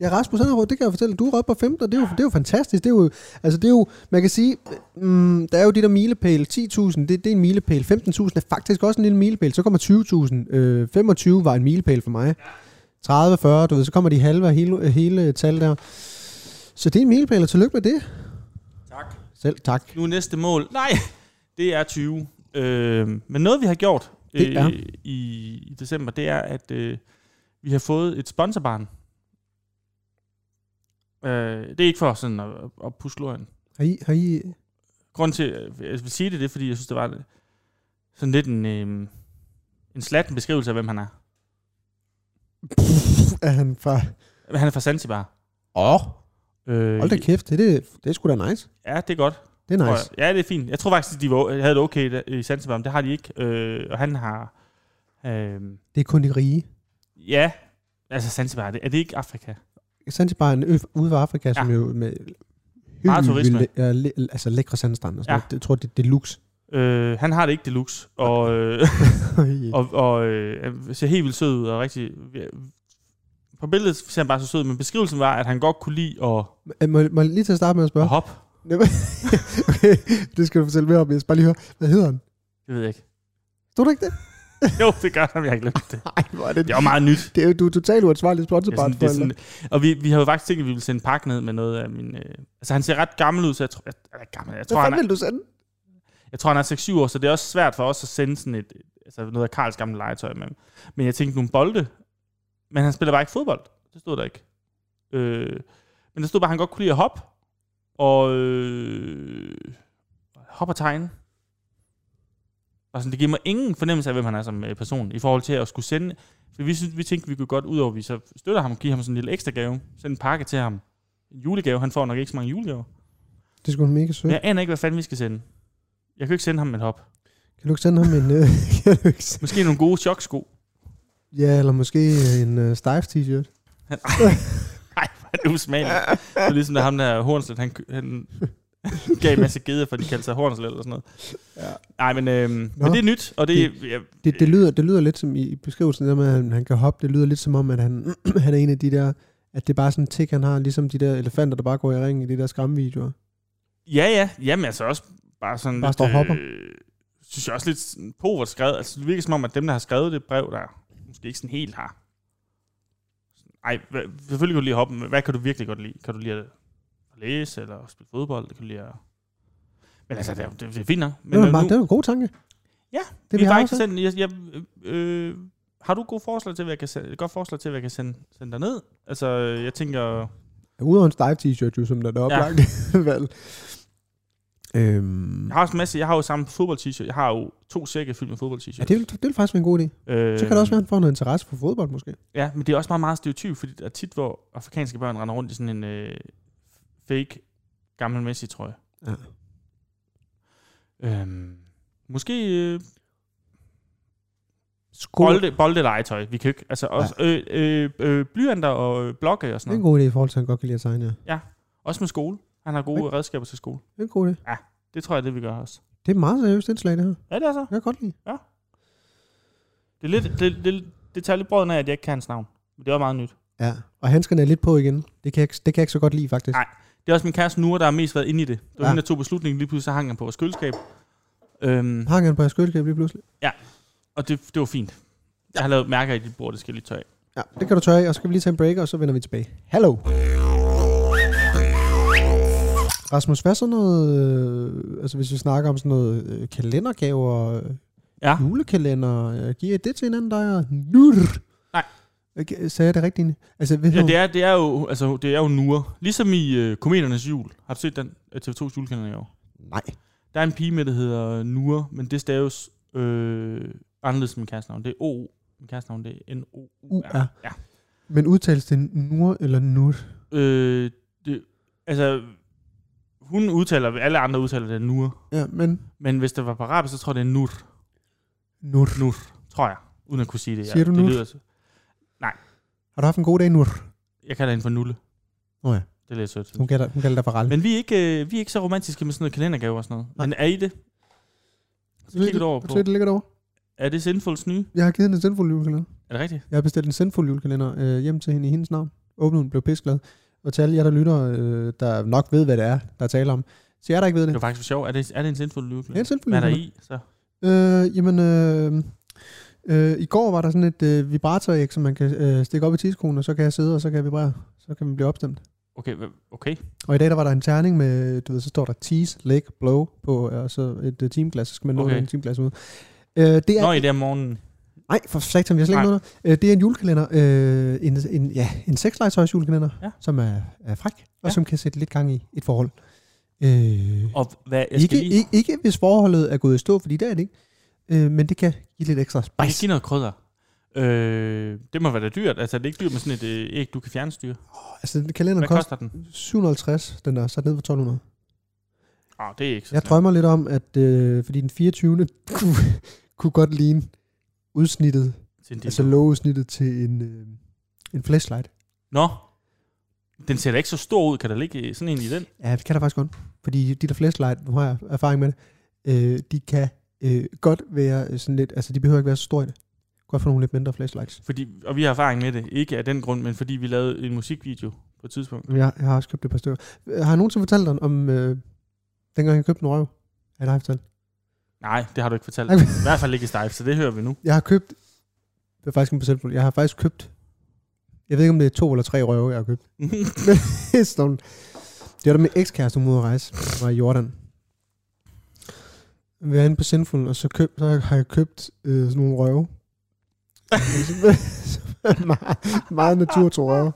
[SPEAKER 3] Ja, Rasmus Anderud, det kan jeg fortælle. Du er oppe på 15, og det er, jo, det er jo fantastisk. Det er jo, altså det er jo, man kan sige, mm, der er jo de der milepæle. 10.000, det, det er en milepæl. 15.000 er faktisk også en lille milepæl. Så kommer 20.000. Øh, 25 var en milepæl for mig. 30, 40, du ved, så kommer de halve og hele, hele tal der. Så det er en milepæl, og tillykke med det.
[SPEAKER 2] Tak.
[SPEAKER 3] Selv tak.
[SPEAKER 2] Nu er næste mål. Nej, det er 20. Øh, men noget, vi har gjort
[SPEAKER 3] Det
[SPEAKER 2] øh,
[SPEAKER 3] er.
[SPEAKER 2] i, i december, det er, at øh, vi har fået et sponsorbarn. Øh, det er ikke for sådan at, at pusle løgn.
[SPEAKER 3] Har I, har I,
[SPEAKER 2] Grunden til, at jeg vil sige det, det er, fordi jeg synes, det var sådan lidt en, øh, en slatten beskrivelse af, hvem han er.
[SPEAKER 3] er han fra...
[SPEAKER 2] Han er fra Zanzibar.
[SPEAKER 3] Åh, oh,
[SPEAKER 2] Øh,
[SPEAKER 3] hold da kæft, det, det, det er sgu da nice.
[SPEAKER 2] Ja, det er godt.
[SPEAKER 3] Det er
[SPEAKER 2] tror
[SPEAKER 3] nice.
[SPEAKER 2] jeg. Ja, det er fint. Jeg tror faktisk, at de var, havde det okay der- i Zanzibar, men det har de ikke. Øh, og han har... Øh,
[SPEAKER 3] Det er kun de rige.
[SPEAKER 2] ja, altså Zanzibar, er det, er det ikke Afrika?
[SPEAKER 3] Zanzibar er en ø ude for Afrika, som
[SPEAKER 2] Ja.
[SPEAKER 3] jo med
[SPEAKER 2] Meget turisme.
[SPEAKER 3] Hyl- ja, læ- altså lækre sandstrand og sådan
[SPEAKER 2] Ja.
[SPEAKER 3] ja. noget. Det- Jeg tror, det, det er luxe.
[SPEAKER 2] Øh, han har det ikke deluxe, og, øh, og, og øh, ser helt vildt sød ud, og rigtig... På billedet ser han bare så sød ud, men beskrivelsen var, at han godt kunne lide at,
[SPEAKER 3] Øh, må, må jeg lige til at starte med at spørge?
[SPEAKER 2] at hoppe.
[SPEAKER 3] okay, det skal du fortælle mere om. Jeg skal bare lige høre, hvad hedder han?
[SPEAKER 2] Det ved jeg ikke.
[SPEAKER 3] Stod der ikke det?
[SPEAKER 2] Jo, det gør han, jeg har glemt det.
[SPEAKER 3] Nej, hvor er det...
[SPEAKER 2] Det var meget nyt.
[SPEAKER 3] Det er jo, du er totalt uansvarlig
[SPEAKER 2] Det er sådan,
[SPEAKER 3] sponsorbarn.
[SPEAKER 2] det er sådan, og vi, vi har jo faktisk tænkt, at vi ville sende pakke ned med noget af min... Øh, altså, han ser ret gammel ud, så jeg tror... Jeg, jeg, gammel, jeg
[SPEAKER 3] Hvad
[SPEAKER 2] tror, han er,
[SPEAKER 3] fanden vil du sende?
[SPEAKER 2] Jeg tror, han er 6-7 år, så det er også svært for os at sende sådan et, altså noget af Karls gamle legetøj med. Men jeg tænkte nogle bolde, men han spiller bare ikke fodbold. Det stod der ikke. Øh, men der stod bare, at han godt kunne lide at hoppe, og øh, hoppe og tegne. Og sådan, det giver mig ingen fornemmelse af, hvem han er som øh, person, i forhold til at skulle sende... For vi, synes, vi tænkte, vi kunne godt, udover at vi så støtter ham, give ham sådan en lille ekstra gave, sende en pakke til ham. En julegave, han får nok ikke så mange julegaver.
[SPEAKER 3] Det er sgu mega sødt.
[SPEAKER 2] Men
[SPEAKER 3] Ja.
[SPEAKER 2] jeg aner ikke, hvad fanden vi skal sende. Jeg kan jo ikke sende ham et hop.
[SPEAKER 3] Kan du ikke sende ham en... Øh, kan du ikke sende,
[SPEAKER 2] Måske nogle gode choksko.
[SPEAKER 3] ja, eller måske en øh, Stives t-shirt.
[SPEAKER 2] Nej, hvor er det usmageligt. Det er ligesom der ham der Hornslet, han, kø- han gav en masse geder, for de kaldte sig Hornslet eller sådan noget.
[SPEAKER 3] Ja.
[SPEAKER 2] Nej, men, øhm,
[SPEAKER 3] Nå.
[SPEAKER 2] men det er nyt, og det, jeg,
[SPEAKER 3] Det, det, lyder, det lyder lidt som i i beskrivelsen, der med, at han, han kan hoppe. Det lyder lidt som om, at han, han er en af de der... At det er bare sådan en tik, han har, ligesom de der elefanter, der bare går i ring i de der skræmmevideoer.
[SPEAKER 2] ja, ja, jamen altså også bare sådan
[SPEAKER 3] Bare
[SPEAKER 2] lidt,
[SPEAKER 3] står og hopper.
[SPEAKER 2] Øh, synes jeg også lidt sådan povert skrevet. Altså det virker som om, at dem, der har skrevet det brev, der måske ikke sådan helt har. Ej, hvad, selvfølgelig kan du lide at hoppe, men hvad kan du virkelig godt lide? Kan du lide at læse eller spille fodbold? Kan du lide at... Men altså, det er, det er fint nok. Men
[SPEAKER 3] Men det, var
[SPEAKER 2] øh,
[SPEAKER 3] bare,
[SPEAKER 2] nu-
[SPEAKER 3] det var en god tanke.
[SPEAKER 2] Ja,
[SPEAKER 3] det
[SPEAKER 2] vi
[SPEAKER 3] vi
[SPEAKER 2] er bare
[SPEAKER 3] har
[SPEAKER 2] ikke
[SPEAKER 3] også. Selv.
[SPEAKER 2] sendt, jeg, jeg, øh, har du gode forslag til, hvad jeg kan sende, godt forslag til, hvad jeg kan sende, sende dig ned? Altså, jeg tænker...
[SPEAKER 3] Udover en Dive t-shirt, jo, som der er oplagt. Ja. Vel. Øhm.
[SPEAKER 2] Jeg har også en masse... Jeg har jo samme fodbold-t-shirt. Jeg har jo to sække fyldt med fodbold-t-shirts.
[SPEAKER 3] Ja, det vil, det vil faktisk være en god idé.
[SPEAKER 2] øh,
[SPEAKER 3] Så kan det også være, at han får noget interesse for fodbold, måske.
[SPEAKER 2] Ja, men det er også meget, meget stereotyp, fordi der er tit, hvor afrikanske børn render rundt i sådan en øh, fake Gammel Messi, tror jeg.
[SPEAKER 3] Ja.
[SPEAKER 2] Øhm, måske øh,
[SPEAKER 3] Sko-
[SPEAKER 2] bolde, bolde legetøj. Vi kan jo ikke... Altså, også, øh, øh, øh, blyanter og øh, blokke og
[SPEAKER 3] Det er
[SPEAKER 2] sådan
[SPEAKER 3] en
[SPEAKER 2] noget.
[SPEAKER 3] god idé i forhold til, at han godt kan lide at tegne, ja.
[SPEAKER 2] Også med skole. Han har gode redskaber til skole.
[SPEAKER 3] Det er en god idé.
[SPEAKER 2] Det tror jeg, det vi gør også.
[SPEAKER 3] Det er et meget seriøst indslag, det her.
[SPEAKER 2] Ja, det er så.
[SPEAKER 3] Jeg kan godt lide.
[SPEAKER 2] Det, er lidt, det, det, det tager lidt brøden af, at jeg ikke kan hans navn. Men det var meget nyt.
[SPEAKER 3] Ja, og handskerne er lidt på igen. Det kan jeg, ikke- det kan jeg ikke så godt lide, faktisk.
[SPEAKER 2] Nej. Det er også min kæreste Nure, der har mest været inde i det. Det var
[SPEAKER 3] Ja.
[SPEAKER 2] ja. hende, der tog beslutningen. Lige pludselig så hang han på vores køleskab. Øhm,
[SPEAKER 3] Hang han på jeres køleskab lige pludselig?
[SPEAKER 2] og det, det var fint. Jeg har lavet mærker i dit bord, det skal jeg lige tørre af.
[SPEAKER 3] Ja, det kan du tørre af, og så kan vi lige tage en break, og så vender vi tilbage. Hallo! Rasmus, hvad så noget, øh, altså hvis vi snakker om sådan noget øh, kalendergaver, øh,
[SPEAKER 2] Ja.
[SPEAKER 3] julekalender, øh, giver I det til hinanden, der er nur?
[SPEAKER 2] Nej.
[SPEAKER 3] Okay, sagde jeg det rigtigt? egentlig? Altså, ved
[SPEAKER 2] Ja, det er, det er jo, altså, det er jo nuer. Ligesom i øh, Kometernes Jul. Har du set den? Øh, TV2's julekalender i år.
[SPEAKER 3] Nej.
[SPEAKER 2] Der er en pige med, der hedder Nure, men det staves øh, anderledes end min kæreste Det er O. Min kæreste det er n o u
[SPEAKER 3] U-R.
[SPEAKER 2] r Ja.
[SPEAKER 3] Men udtales det nur eller nur?
[SPEAKER 2] Øh, det, altså, hun udtaler, alle andre udtaler det Nure.
[SPEAKER 3] Ja, men
[SPEAKER 2] Men hvis det var på arabisk, så tror jeg, det er Nur.
[SPEAKER 3] nur.
[SPEAKER 2] Nur, tror jeg. Uden at kunne sige det.
[SPEAKER 3] Siger du
[SPEAKER 2] det
[SPEAKER 3] Nur?
[SPEAKER 2] så-
[SPEAKER 3] Har du haft en god dag, nur?
[SPEAKER 2] jeg kalder hende for Nulle.
[SPEAKER 3] Nå ja.
[SPEAKER 2] Det er lidt sødt.
[SPEAKER 3] Hun
[SPEAKER 2] Okay.
[SPEAKER 3] kalder, hun kalder dig for Ralle.
[SPEAKER 2] Men vi er, ikke, øh, vi er ikke så romantiske med sådan noget kalendergave og sådan noget.
[SPEAKER 3] Nej.
[SPEAKER 2] Men er I det? Så kigger du over på.
[SPEAKER 3] Det ligger derovre.
[SPEAKER 2] Er det Sinfuls nye?
[SPEAKER 3] Jeg har givet hende en sendfuld julekalender.
[SPEAKER 2] Er det rigtigt?
[SPEAKER 3] Jeg har bestilt en sendfuld julekalender øh, hjem til hende i hendes navn. Åbnede den, blev pisglad. Og til alle jer, der lytter, øh, der nok ved, hvad det er, der er tale om. Så jeg der ikke ved
[SPEAKER 2] Det
[SPEAKER 3] det.
[SPEAKER 2] var faktisk sjovt. Er det, er det en Sinful nye?
[SPEAKER 3] Ja, en sendfuld
[SPEAKER 2] Hvad er der i? Så?
[SPEAKER 3] julekalender. Øh, jamen, øh, øh, i går var der sådan et øh, vibratoræg, som man kan øh, stikke op i tidskonen, og så kan jeg sidde, og så kan jeg vibrere. Så kan man blive opstemt.
[SPEAKER 2] Okay, hva- okay.
[SPEAKER 3] Og i dag, der var der en terning med, du ved, så står der tease, leg, blow på, og så et øh, timeglas, så skal man nå
[SPEAKER 2] Okay.
[SPEAKER 3] okay. en timeglas ud. Øh, det er
[SPEAKER 2] Nå, i der morgen.
[SPEAKER 3] Nej, for satan, vi har slet ikke
[SPEAKER 2] Nej.
[SPEAKER 3] noget. der. Øh, det er en julekalender, øh, en, en, ja, en sekslegetøjs julekalender, ja.
[SPEAKER 2] Ja.
[SPEAKER 3] som er, er fræk, og
[SPEAKER 2] Ja.
[SPEAKER 3] som kan sætte lidt gang i et forhold. Øh,
[SPEAKER 2] Og hvad, jeg skal
[SPEAKER 3] ikke,
[SPEAKER 2] lige...
[SPEAKER 3] ikke, ikke hvis forholdet er gået i stå, fordi det er det ikke, øh, men det kan give lidt ekstra
[SPEAKER 2] Jeg kan
[SPEAKER 3] spice.
[SPEAKER 2] give noget krydder. Øh, det må være da dyrt. Altså, er det ikke dyrt med sådan et øh, æg, du kan fjernstyre?
[SPEAKER 3] Altså, den kalenderen
[SPEAKER 2] Hvad
[SPEAKER 3] koster
[SPEAKER 2] koster den?
[SPEAKER 3] 750, den er sat ned for 1200.
[SPEAKER 2] Åh, oh, det er ikke så
[SPEAKER 3] Jeg drømmer lidt om, at øh, fordi den 24. kunne, kunne godt ligne udsnittet,
[SPEAKER 2] drømmer.
[SPEAKER 3] altså lågeudsnittet til en, øh, en flashlight.
[SPEAKER 2] Nå. Den ser da ikke så stor ud. Kan der ligge øh, sådan en i den?
[SPEAKER 3] Ja, det kan der faktisk godt. Fordi de der flashlight, nu har jeg erfaring med det, øh, de kan øh, godt være øh, sådan lidt, altså de behøver ikke være så store i det. Godt få nogle lidt mindre flashlights.
[SPEAKER 2] Fordi, og vi har erfaring med det. Ikke af den grund, men fordi vi lavede en musikvideo på et tidspunkt.
[SPEAKER 3] Jeg, jeg har også købt et par stykker. Øh, Har jeg nogensinde fortalt dig om, øh, dengang jeg købte en røv? Ja, det har jeg fortalt.
[SPEAKER 2] Nej, det har du ikke fortalt.
[SPEAKER 3] Nej.
[SPEAKER 2] I hvert fald ikke i Stife, så det hører vi nu.
[SPEAKER 3] Jeg har købt, det er faktisk en procentfuld, jeg har faktisk købt, jeg ved ikke om det er to eller tre røve, jeg har købt. Det er sådan nogle- det var da min ekskæreste, hun var ude at rejse, hun var i Jordan. Vi var inde på Sinful, og så, køb, så har jeg købt øh, sådan nogle røve. meget, meget naturtro røve.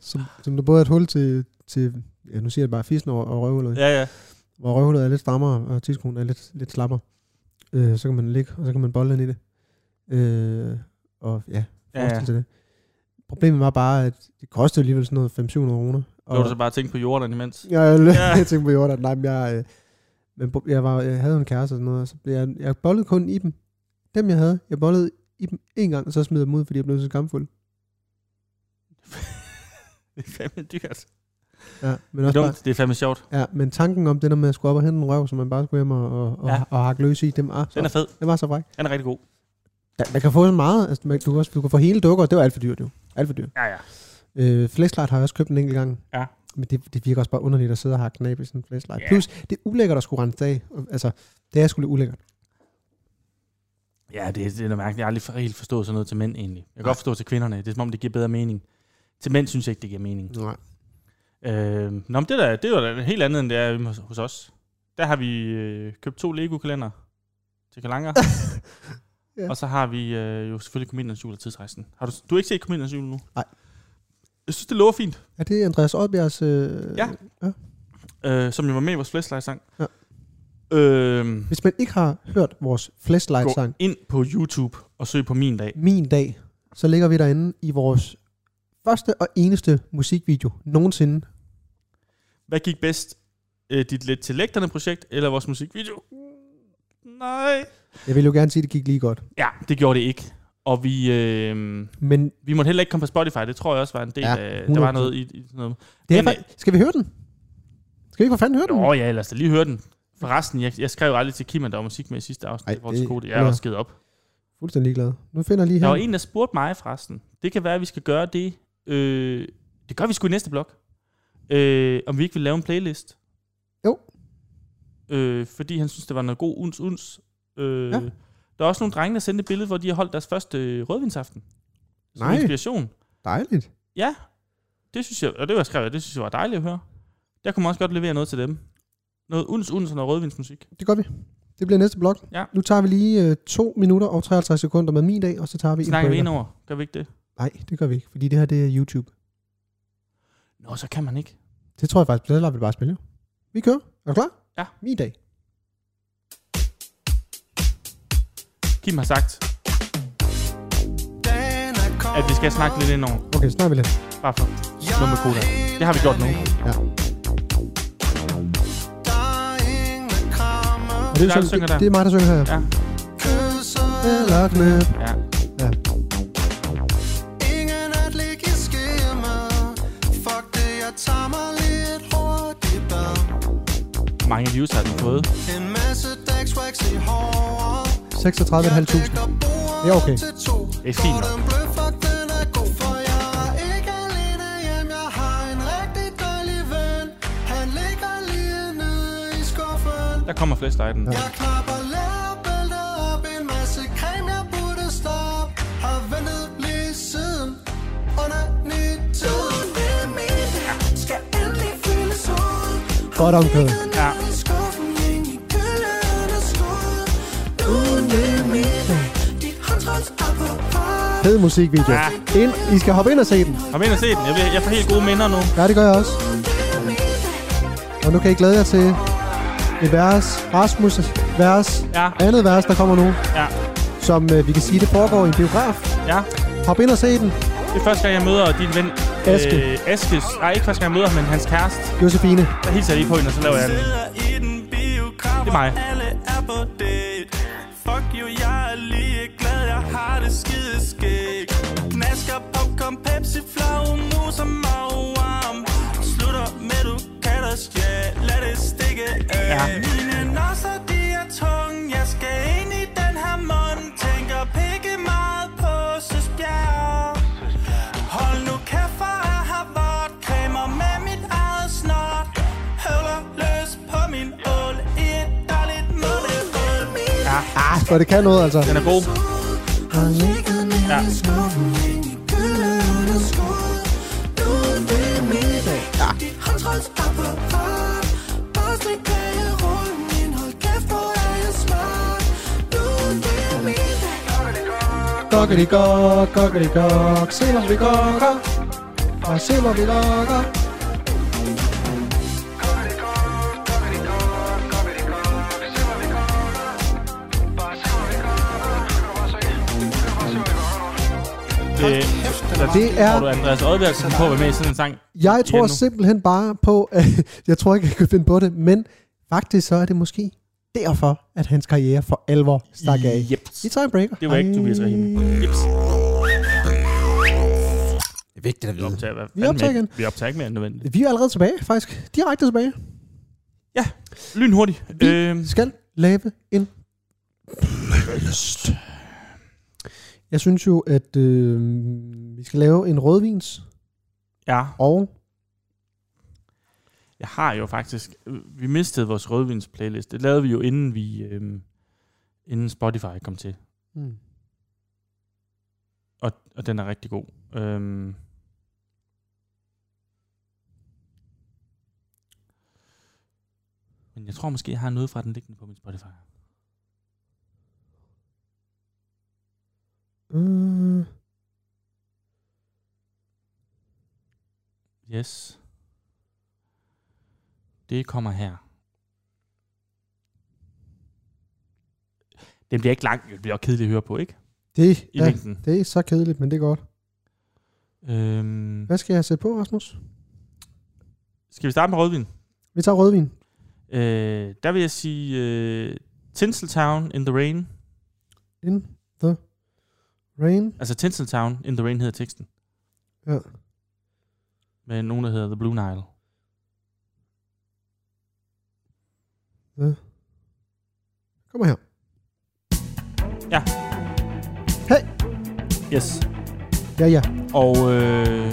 [SPEAKER 3] Som, som der både er et hul til, til ja, nu siger jeg bare fissen og, og røvhullet. Ja.
[SPEAKER 2] ja, ja.
[SPEAKER 3] Hvor røvhullet er lidt strammere, og tidskronen er lidt, lidt slappere. Øh, så kan man ligge, og så kan man bolle ind i det. Øh, og ja,
[SPEAKER 2] Ja,
[SPEAKER 3] forestille
[SPEAKER 2] ja.
[SPEAKER 3] sig det. Problemet var bare, at det kostede alligevel sådan noget 500-700 kroner.
[SPEAKER 2] Det var du så bare tænkt på Jordan imens.
[SPEAKER 3] Ja, jeg, ja.
[SPEAKER 2] Ja.
[SPEAKER 3] jeg tænkte på Jordan. Nej, men jeg, øh, men bo- jeg, var, jeg havde en kæreste og sådan noget, og så blev jeg, jeg bollede kun i dem. Dem, jeg havde, jeg bollede i dem en gang, og så smed jeg dem ud, fordi jeg blev så skamfuld.
[SPEAKER 2] det er fandme dyrt.
[SPEAKER 3] Ja,
[SPEAKER 2] Det
[SPEAKER 3] men
[SPEAKER 2] er,
[SPEAKER 3] også bare,
[SPEAKER 2] dumt. det er fandme sjovt.
[SPEAKER 3] ja, men tanken om det der med at skulle op og hente en røv, som man bare skulle hjem og, og, og,
[SPEAKER 2] Ja.
[SPEAKER 3] og hakke løs i, dem, ah, så,
[SPEAKER 2] Den er fed.
[SPEAKER 3] det var så fræk.
[SPEAKER 2] Den er rigtig god.
[SPEAKER 3] Ja, man kan få så meget, altså, man, du, kan også, du kan få hele dukker, og det var alt for dyrt jo. Alt for dyrt.
[SPEAKER 2] Ja, ja.
[SPEAKER 3] Øh, flashlight har jeg også købt en enkelt gang.
[SPEAKER 2] Ja.
[SPEAKER 3] Men det, det virker også bare underligt at sidde og hakke knap i sådan en flashlight.
[SPEAKER 2] Ja.
[SPEAKER 3] Plus, det er ulækkert at skulle rense det af. Og, Altså, det er sgu lidt ulækkert.
[SPEAKER 2] Ja, det, det er noget mærkeligt. Jeg har aldrig for- helt forstået sådan noget til mænd egentlig. Jeg kan godt forstå til kvinderne. Det er som om, det giver bedre mening. Til mænd synes jeg ikke, det giver mening.
[SPEAKER 3] Nej.
[SPEAKER 2] Øh, nå, men det, der, det er jo da helt andet, end det er hjemme hos, hos os. Der har vi øh, købt to Lego-kalender til Kalanger.
[SPEAKER 3] Ja.
[SPEAKER 2] ja. Og så har vi øh, jo selvfølgelig Kometernes Jul og Tidsrejsen. Har du, du har ikke set Kometernes Jul nu?
[SPEAKER 3] Nej.
[SPEAKER 2] Jeg synes, det lover fint.
[SPEAKER 3] Er det Andreas Oddbjergs... Øh,
[SPEAKER 2] Ja. Øh, som jo var med i vores flashlight-sang.
[SPEAKER 3] Ja.
[SPEAKER 2] Øh,
[SPEAKER 3] Hvis man ikke har hørt vores flashlight-sang,
[SPEAKER 2] gå ind på YouTube og søg på Min Dag.
[SPEAKER 3] Min Dag, så ligger vi derinde i vores første og eneste musikvideo nogensinde.
[SPEAKER 2] Hvad gik bedst? øh, dit lidt til lægterne projekt, eller vores musikvideo. Nej.
[SPEAKER 3] Jeg vil jo gerne sige, at det gik lige godt.
[SPEAKER 2] Ja, det gjorde det ikke. Og vi, øh,
[SPEAKER 3] Men
[SPEAKER 2] vi måtte heller ikke komme på Spotify. Det tror jeg også var en del
[SPEAKER 3] Ja,
[SPEAKER 2] ja, af... Der
[SPEAKER 3] 100%.
[SPEAKER 2] var noget i, i sådan noget.
[SPEAKER 3] det er
[SPEAKER 2] Men,
[SPEAKER 3] fa- skal vi høre den? Skal vi ikke for fanden høre den?
[SPEAKER 2] Nå ja, lad os da lige høre den. Forresten, jeg, jeg skrev jo aldrig til Kim, at der var musik med i sidste afsnit.
[SPEAKER 3] Ej,
[SPEAKER 2] Ej, det,
[SPEAKER 3] det-
[SPEAKER 2] kode. Jeg er
[SPEAKER 3] ja.
[SPEAKER 2] også givet op.
[SPEAKER 3] Fuldstændig ligeglad. Nu finder jeg lige
[SPEAKER 2] Der
[SPEAKER 3] her.
[SPEAKER 2] var en, der spurgte mig forresten. Det kan være, at vi skal gøre det. Øh, det gør vi sgu i næste blog. Øh, om vi ikke vil lave en playlist.
[SPEAKER 3] Jo.
[SPEAKER 2] Øh, fordi han synes, det var noget god uns uns. Øh,
[SPEAKER 3] Ja.
[SPEAKER 2] ja. Der er også nogle drenge, der sendte et billede, hvor de har holdt deres første øh, rødvinsaften. Som
[SPEAKER 3] Nej.
[SPEAKER 2] inspiration.
[SPEAKER 3] Dejligt.
[SPEAKER 2] Ja. Det synes jeg, og det var jeg skrevet, det synes jeg var dejligt at høre. Der kunne man også godt levere noget til dem. Noget uns uns og noget rødvinsmusik.
[SPEAKER 3] Det gør vi. Det bliver næste blok.
[SPEAKER 2] Ja.
[SPEAKER 3] Nu tager vi lige øh, 2 minutter og 53 sekunder med min dag, og så tager vi
[SPEAKER 2] Det snakker vi
[SPEAKER 3] breaker.
[SPEAKER 2] ind over. Gør vi ikke det?
[SPEAKER 3] Nej, det gør vi ikke, fordi det her det er YouTube.
[SPEAKER 2] Nå, så kan man ikke.
[SPEAKER 3] Det tror jeg faktisk, det lader vi bare spille. jo. Vi kører. Er du klar?
[SPEAKER 2] Ja.
[SPEAKER 3] Min dag.
[SPEAKER 2] Kim har sagt, at vi skal snakke lidt ind over.
[SPEAKER 3] Okay, snakker vi lidt.
[SPEAKER 2] Bare for noget med koda. Det har vi gjort nu.
[SPEAKER 3] Og det,
[SPEAKER 2] der,
[SPEAKER 3] sådan-
[SPEAKER 2] der synger der.
[SPEAKER 3] det, det, er mig, der synger her.
[SPEAKER 2] Ja,
[SPEAKER 3] Eller knæp.
[SPEAKER 2] ja.
[SPEAKER 3] Ja.
[SPEAKER 6] Ingen at ligge i skema Fuck det, jeg tager mig lidt hurtigt bad
[SPEAKER 2] Mange views har den fået.
[SPEAKER 6] En masse dagswax i håret
[SPEAKER 3] 36.500.
[SPEAKER 6] Lægger bordet
[SPEAKER 3] Ja, okay.
[SPEAKER 6] til to
[SPEAKER 2] Det er fint nok.
[SPEAKER 6] Den blød, fuck den er god For jeg er ikke alene hjem Jeg har en rigtig dejlig ven Han ligger lige nede i skuffen
[SPEAKER 2] Der kommer flashlighten. Ja.
[SPEAKER 6] Jeg knapper lærbælter op En masse creme, jeg burde stoppe Har ventet lige siden Under nyt tiden Skal endelig fyldes ud
[SPEAKER 3] Godt omkød.
[SPEAKER 2] Ja.
[SPEAKER 3] Fed musikvideo.
[SPEAKER 2] Ja.
[SPEAKER 3] Ind. I skal hoppe ind og se den.
[SPEAKER 2] Kom ind og se den. Jeg, vil- jeg får helt gode minder nu.
[SPEAKER 3] Ja, det gør jeg også. Og nu kan I glæde jer til et vers. Rasmus vers.
[SPEAKER 2] Ja.
[SPEAKER 3] Andet vers, der kommer nu.
[SPEAKER 2] Ja,
[SPEAKER 3] Som øh, vi kan sige, det foregår i en biograf.
[SPEAKER 2] ja.
[SPEAKER 3] Hop ind og se den.
[SPEAKER 2] Det er første gang, jeg møder din ven...
[SPEAKER 3] Aske.
[SPEAKER 2] Øh, Aske. Nej, ikke første gang, jeg møder ham, men hans kæreste.
[SPEAKER 3] Josefine.
[SPEAKER 2] Der hilser jeg lige på hende, og så laver jeg den.
[SPEAKER 7] sidder i den biograf,
[SPEAKER 2] Det er mig.
[SPEAKER 7] og alle er på date. Fuck jo, jeg er lige glad, jeg har det skide skæg. Knasker, popcorn, Pepsi, flagmus og mavarm. Slutter med, du kan da stjæle, lad det stikke af.
[SPEAKER 2] Ja.
[SPEAKER 7] Mine nosser, de er tunge, jeg skal ind i den her mund. Tænker pikke meget på Søsbjerg. Hold nu kæft, for jeg har vort Cremer med mit eget snart Høvler løs på min ål I et dårligt målebål
[SPEAKER 2] Ja,
[SPEAKER 3] Ah, for det kan noget, altså.
[SPEAKER 2] den er god. Ja.
[SPEAKER 3] Gokkelikok, gokkelikok. Se, hvor vi gokker. Og se, hvor vi gokker.
[SPEAKER 2] Øh, der,
[SPEAKER 3] Det er...
[SPEAKER 2] Tror du, Andreas Odberg skal på at være med i sådan en sang?
[SPEAKER 3] Jeg
[SPEAKER 2] igen
[SPEAKER 3] tror
[SPEAKER 2] nu?
[SPEAKER 3] simpelthen bare på... At, jeg tror ikke, jeg kan finde på det. Men faktisk så er det måske derfor, at hans karriere for alvor stak af.
[SPEAKER 2] Yep.
[SPEAKER 3] Vi tager en breaker.
[SPEAKER 2] Det var ikke Tobias Rahim. Jeps.
[SPEAKER 8] Det er vigtigt at
[SPEAKER 2] Vi optager, hvad
[SPEAKER 3] Vi
[SPEAKER 2] fanden
[SPEAKER 3] optager
[SPEAKER 2] med-
[SPEAKER 3] igen.
[SPEAKER 2] Vi optager ikke mere end nødvendigt.
[SPEAKER 3] Vi er allerede tilbage, faktisk. Direkte tilbage.
[SPEAKER 2] Lynhurtigt.
[SPEAKER 3] Vi
[SPEAKER 2] Øh,
[SPEAKER 3] skal lave en playlist. Jeg synes jo, at øh, vi skal lave en rødvins
[SPEAKER 2] ja,
[SPEAKER 3] og...
[SPEAKER 2] jeg har jo faktisk... øh, Vi mistede vores rødvins playlist. Det lavede vi jo, inden vi... Øh, inden Spotify kom til.
[SPEAKER 3] Hmm.
[SPEAKER 2] Og, og den er rigtig god. Øhm. Men jeg tror måske, jeg har noget fra den liggende på min Spotify.
[SPEAKER 3] Øh,
[SPEAKER 2] Yes. Det kommer her. Den bliver ikke lang. Det bliver kedeligt at høre på, ikke?
[SPEAKER 3] det,
[SPEAKER 2] I ja.
[SPEAKER 3] ja,
[SPEAKER 2] længden.
[SPEAKER 3] det er så kedeligt, men det er godt.
[SPEAKER 2] Øhm.
[SPEAKER 3] Hvad skal jeg sætte på, Rasmus?
[SPEAKER 2] Skal vi starte med rødvin?
[SPEAKER 3] Vi tager rødvin.
[SPEAKER 2] Øh, der vil jeg sige øh, Tinseltown in the Rain.
[SPEAKER 3] In the rain.
[SPEAKER 2] Altså Tinseltown in the Rain hedder teksten.
[SPEAKER 3] Ja.
[SPEAKER 2] Med nogen, der hedder The Blue Nile.
[SPEAKER 3] Kommer her.
[SPEAKER 2] Ja.
[SPEAKER 3] Hey!
[SPEAKER 2] Yes.
[SPEAKER 3] Ja, ja.
[SPEAKER 2] Og øh,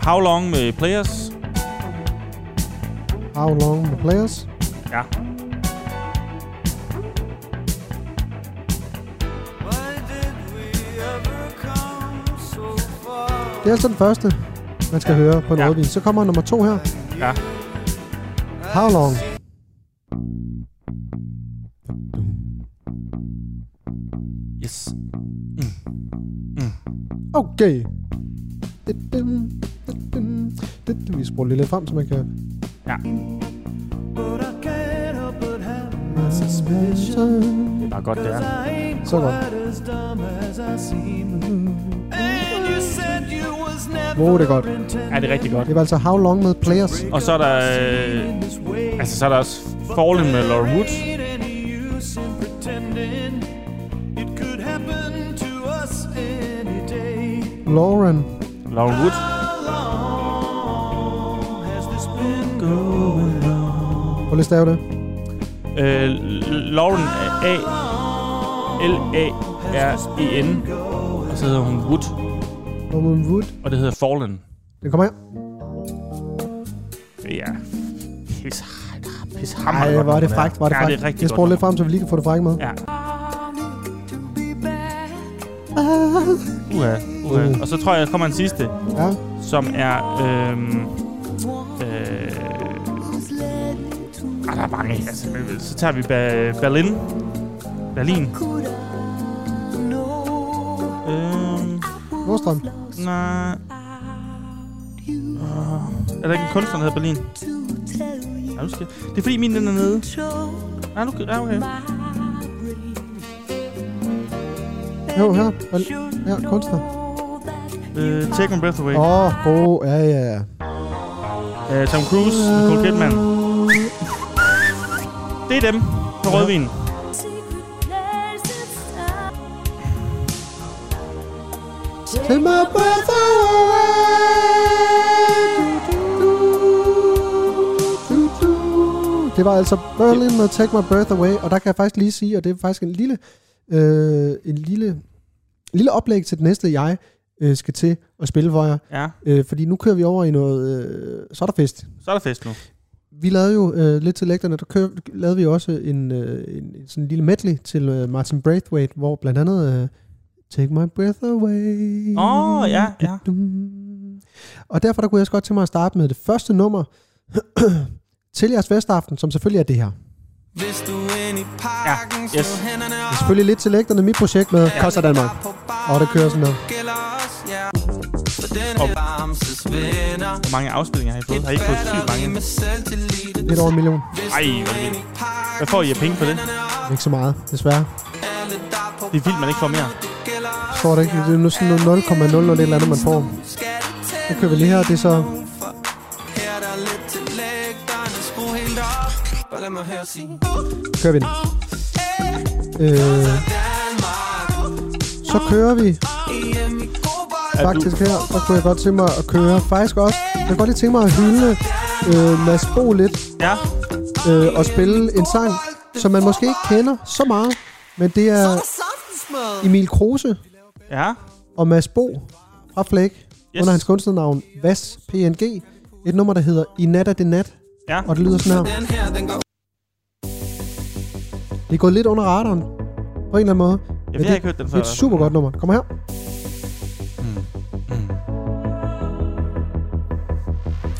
[SPEAKER 2] How Long med Players.
[SPEAKER 3] How long the players?
[SPEAKER 2] Ja.
[SPEAKER 3] Det er altså den første, man skal høre på en
[SPEAKER 2] Ja.
[SPEAKER 3] ja. rødvin. Så kommer nummer to her.
[SPEAKER 2] Ja.
[SPEAKER 3] How long?
[SPEAKER 2] Yes.
[SPEAKER 3] Okay. Dun, dun, dun, dun, dun. Vi spoler lige lidt frem, så man kan...
[SPEAKER 2] Ja. Det er bare godt, det er.
[SPEAKER 3] Så godt. Wow, det er godt.
[SPEAKER 2] Ja, det er rigtig godt.
[SPEAKER 3] Det var altså How Long med Players.
[SPEAKER 2] Og så er der... Øh, altså, så er der også Fallen med Laura Wood.
[SPEAKER 3] Lauren.
[SPEAKER 2] Laura Wood.
[SPEAKER 3] Prøv lige at stave det.
[SPEAKER 2] Øh, Lauren A. L A R E N. Og så hedder hun Wood,
[SPEAKER 3] Norman Wood.
[SPEAKER 2] og det hedder Fallen.
[SPEAKER 3] Den kommer her.
[SPEAKER 2] Ja. Pis, pis
[SPEAKER 3] Ej, var det frækt, var det
[SPEAKER 2] ja,
[SPEAKER 3] frækt.
[SPEAKER 2] det er rigtig
[SPEAKER 3] jeg spoler
[SPEAKER 2] godt.
[SPEAKER 3] lidt frem, så vi lige kan få det frække med.
[SPEAKER 2] Ja. Uha, uha. Og så tror jeg, der kommer en sidste,
[SPEAKER 3] Ja.
[SPEAKER 2] som er... Øhm, øh, ah, der er mange. Altså, så tager vi ba- Berlin. Berlin. Øhm,
[SPEAKER 3] Nordstrøm.
[SPEAKER 2] nej. Uh, er der ikke en kunstner, der hedder Berlin? Ja, nu skal Det er fordi min den er nede. Nej, nu kan ja, okay.
[SPEAKER 3] Jo, her. Vel- Her, kunstner.
[SPEAKER 2] Øh, Take My Breath Away.
[SPEAKER 3] Åh, oh, god. Ja, ja, ja.
[SPEAKER 2] Øh, Tom Cruise, Nicole Kidman. Det er dem på rødvin.
[SPEAKER 3] Take my breath away. Du, du, du, du. Det var altså Berlin med Take My Breath Away, og der kan jeg faktisk lige sige, og det er faktisk en lille, øh, en lille, en lille oplæg til det næste, jeg øh, skal til at spille for jer.
[SPEAKER 2] Ja,
[SPEAKER 3] Øh, fordi nu kører vi over i noget øh, sodderfest.
[SPEAKER 2] så er der fest nu.
[SPEAKER 3] Vi lavede jo øh, lidt til lægterne, der kører, lavede vi også en, øh, en, en sådan en lille medley til øh, Martin Braithwaite, hvor blandt andet øh, Take My Breath Away.
[SPEAKER 2] Åh, ja, ja.
[SPEAKER 3] Dum. Og derfor der kunne jeg også godt tænke mig at starte med det første nummer til jeres festaften, som selvfølgelig er det her. Det
[SPEAKER 7] Hvis du er inde i parken,
[SPEAKER 2] yes.
[SPEAKER 7] slå hænderne
[SPEAKER 3] er selvfølgelig lidt til lægterne mit projekt med ja. Koster Danmark. Og det kører sådan noget.
[SPEAKER 7] gælder os, ja. For den er varmses venner.
[SPEAKER 2] Hvor mange afspillinger har I fået? Har I ikke fået sygt mange?
[SPEAKER 7] Batteri med selvtillid.
[SPEAKER 3] Lidt over en million.
[SPEAKER 2] Ej, hvor er det- hvad får I af penge for det?
[SPEAKER 3] Ikke så meget, desværre.
[SPEAKER 2] Det er vildt, man ikke får mere.
[SPEAKER 3] Står det ikke? Det er nu sådan noget 0,0 eller et eller andet, man får. Nu kører vi lige her, det er så...
[SPEAKER 7] Uh,
[SPEAKER 3] Kører vi den. Øh, så kører vi
[SPEAKER 7] E
[SPEAKER 2] Er du,
[SPEAKER 3] faktisk her, og kunne jeg godt tænke mig at køre. Faktisk også, jeg kunne godt lige tænke mig at hylde øh, Mads Bo lidt,
[SPEAKER 2] ja,
[SPEAKER 3] øh, og spille en sang, som man måske ikke kender så meget, men det er Emil Kruse
[SPEAKER 2] ja.
[SPEAKER 3] og Mads Bo fra Flæk, yes. under hans kunstnernavn Vas PNG, et nummer, der hedder I nat er det nat,
[SPEAKER 2] Ja,
[SPEAKER 3] og det lyder sådan her. Det er gået lidt under radaren, på en eller anden måde.
[SPEAKER 2] jeg,
[SPEAKER 3] Men
[SPEAKER 2] jeg har ikke hørt den
[SPEAKER 3] det
[SPEAKER 2] før.
[SPEAKER 3] er et super godt nummer. Kom her.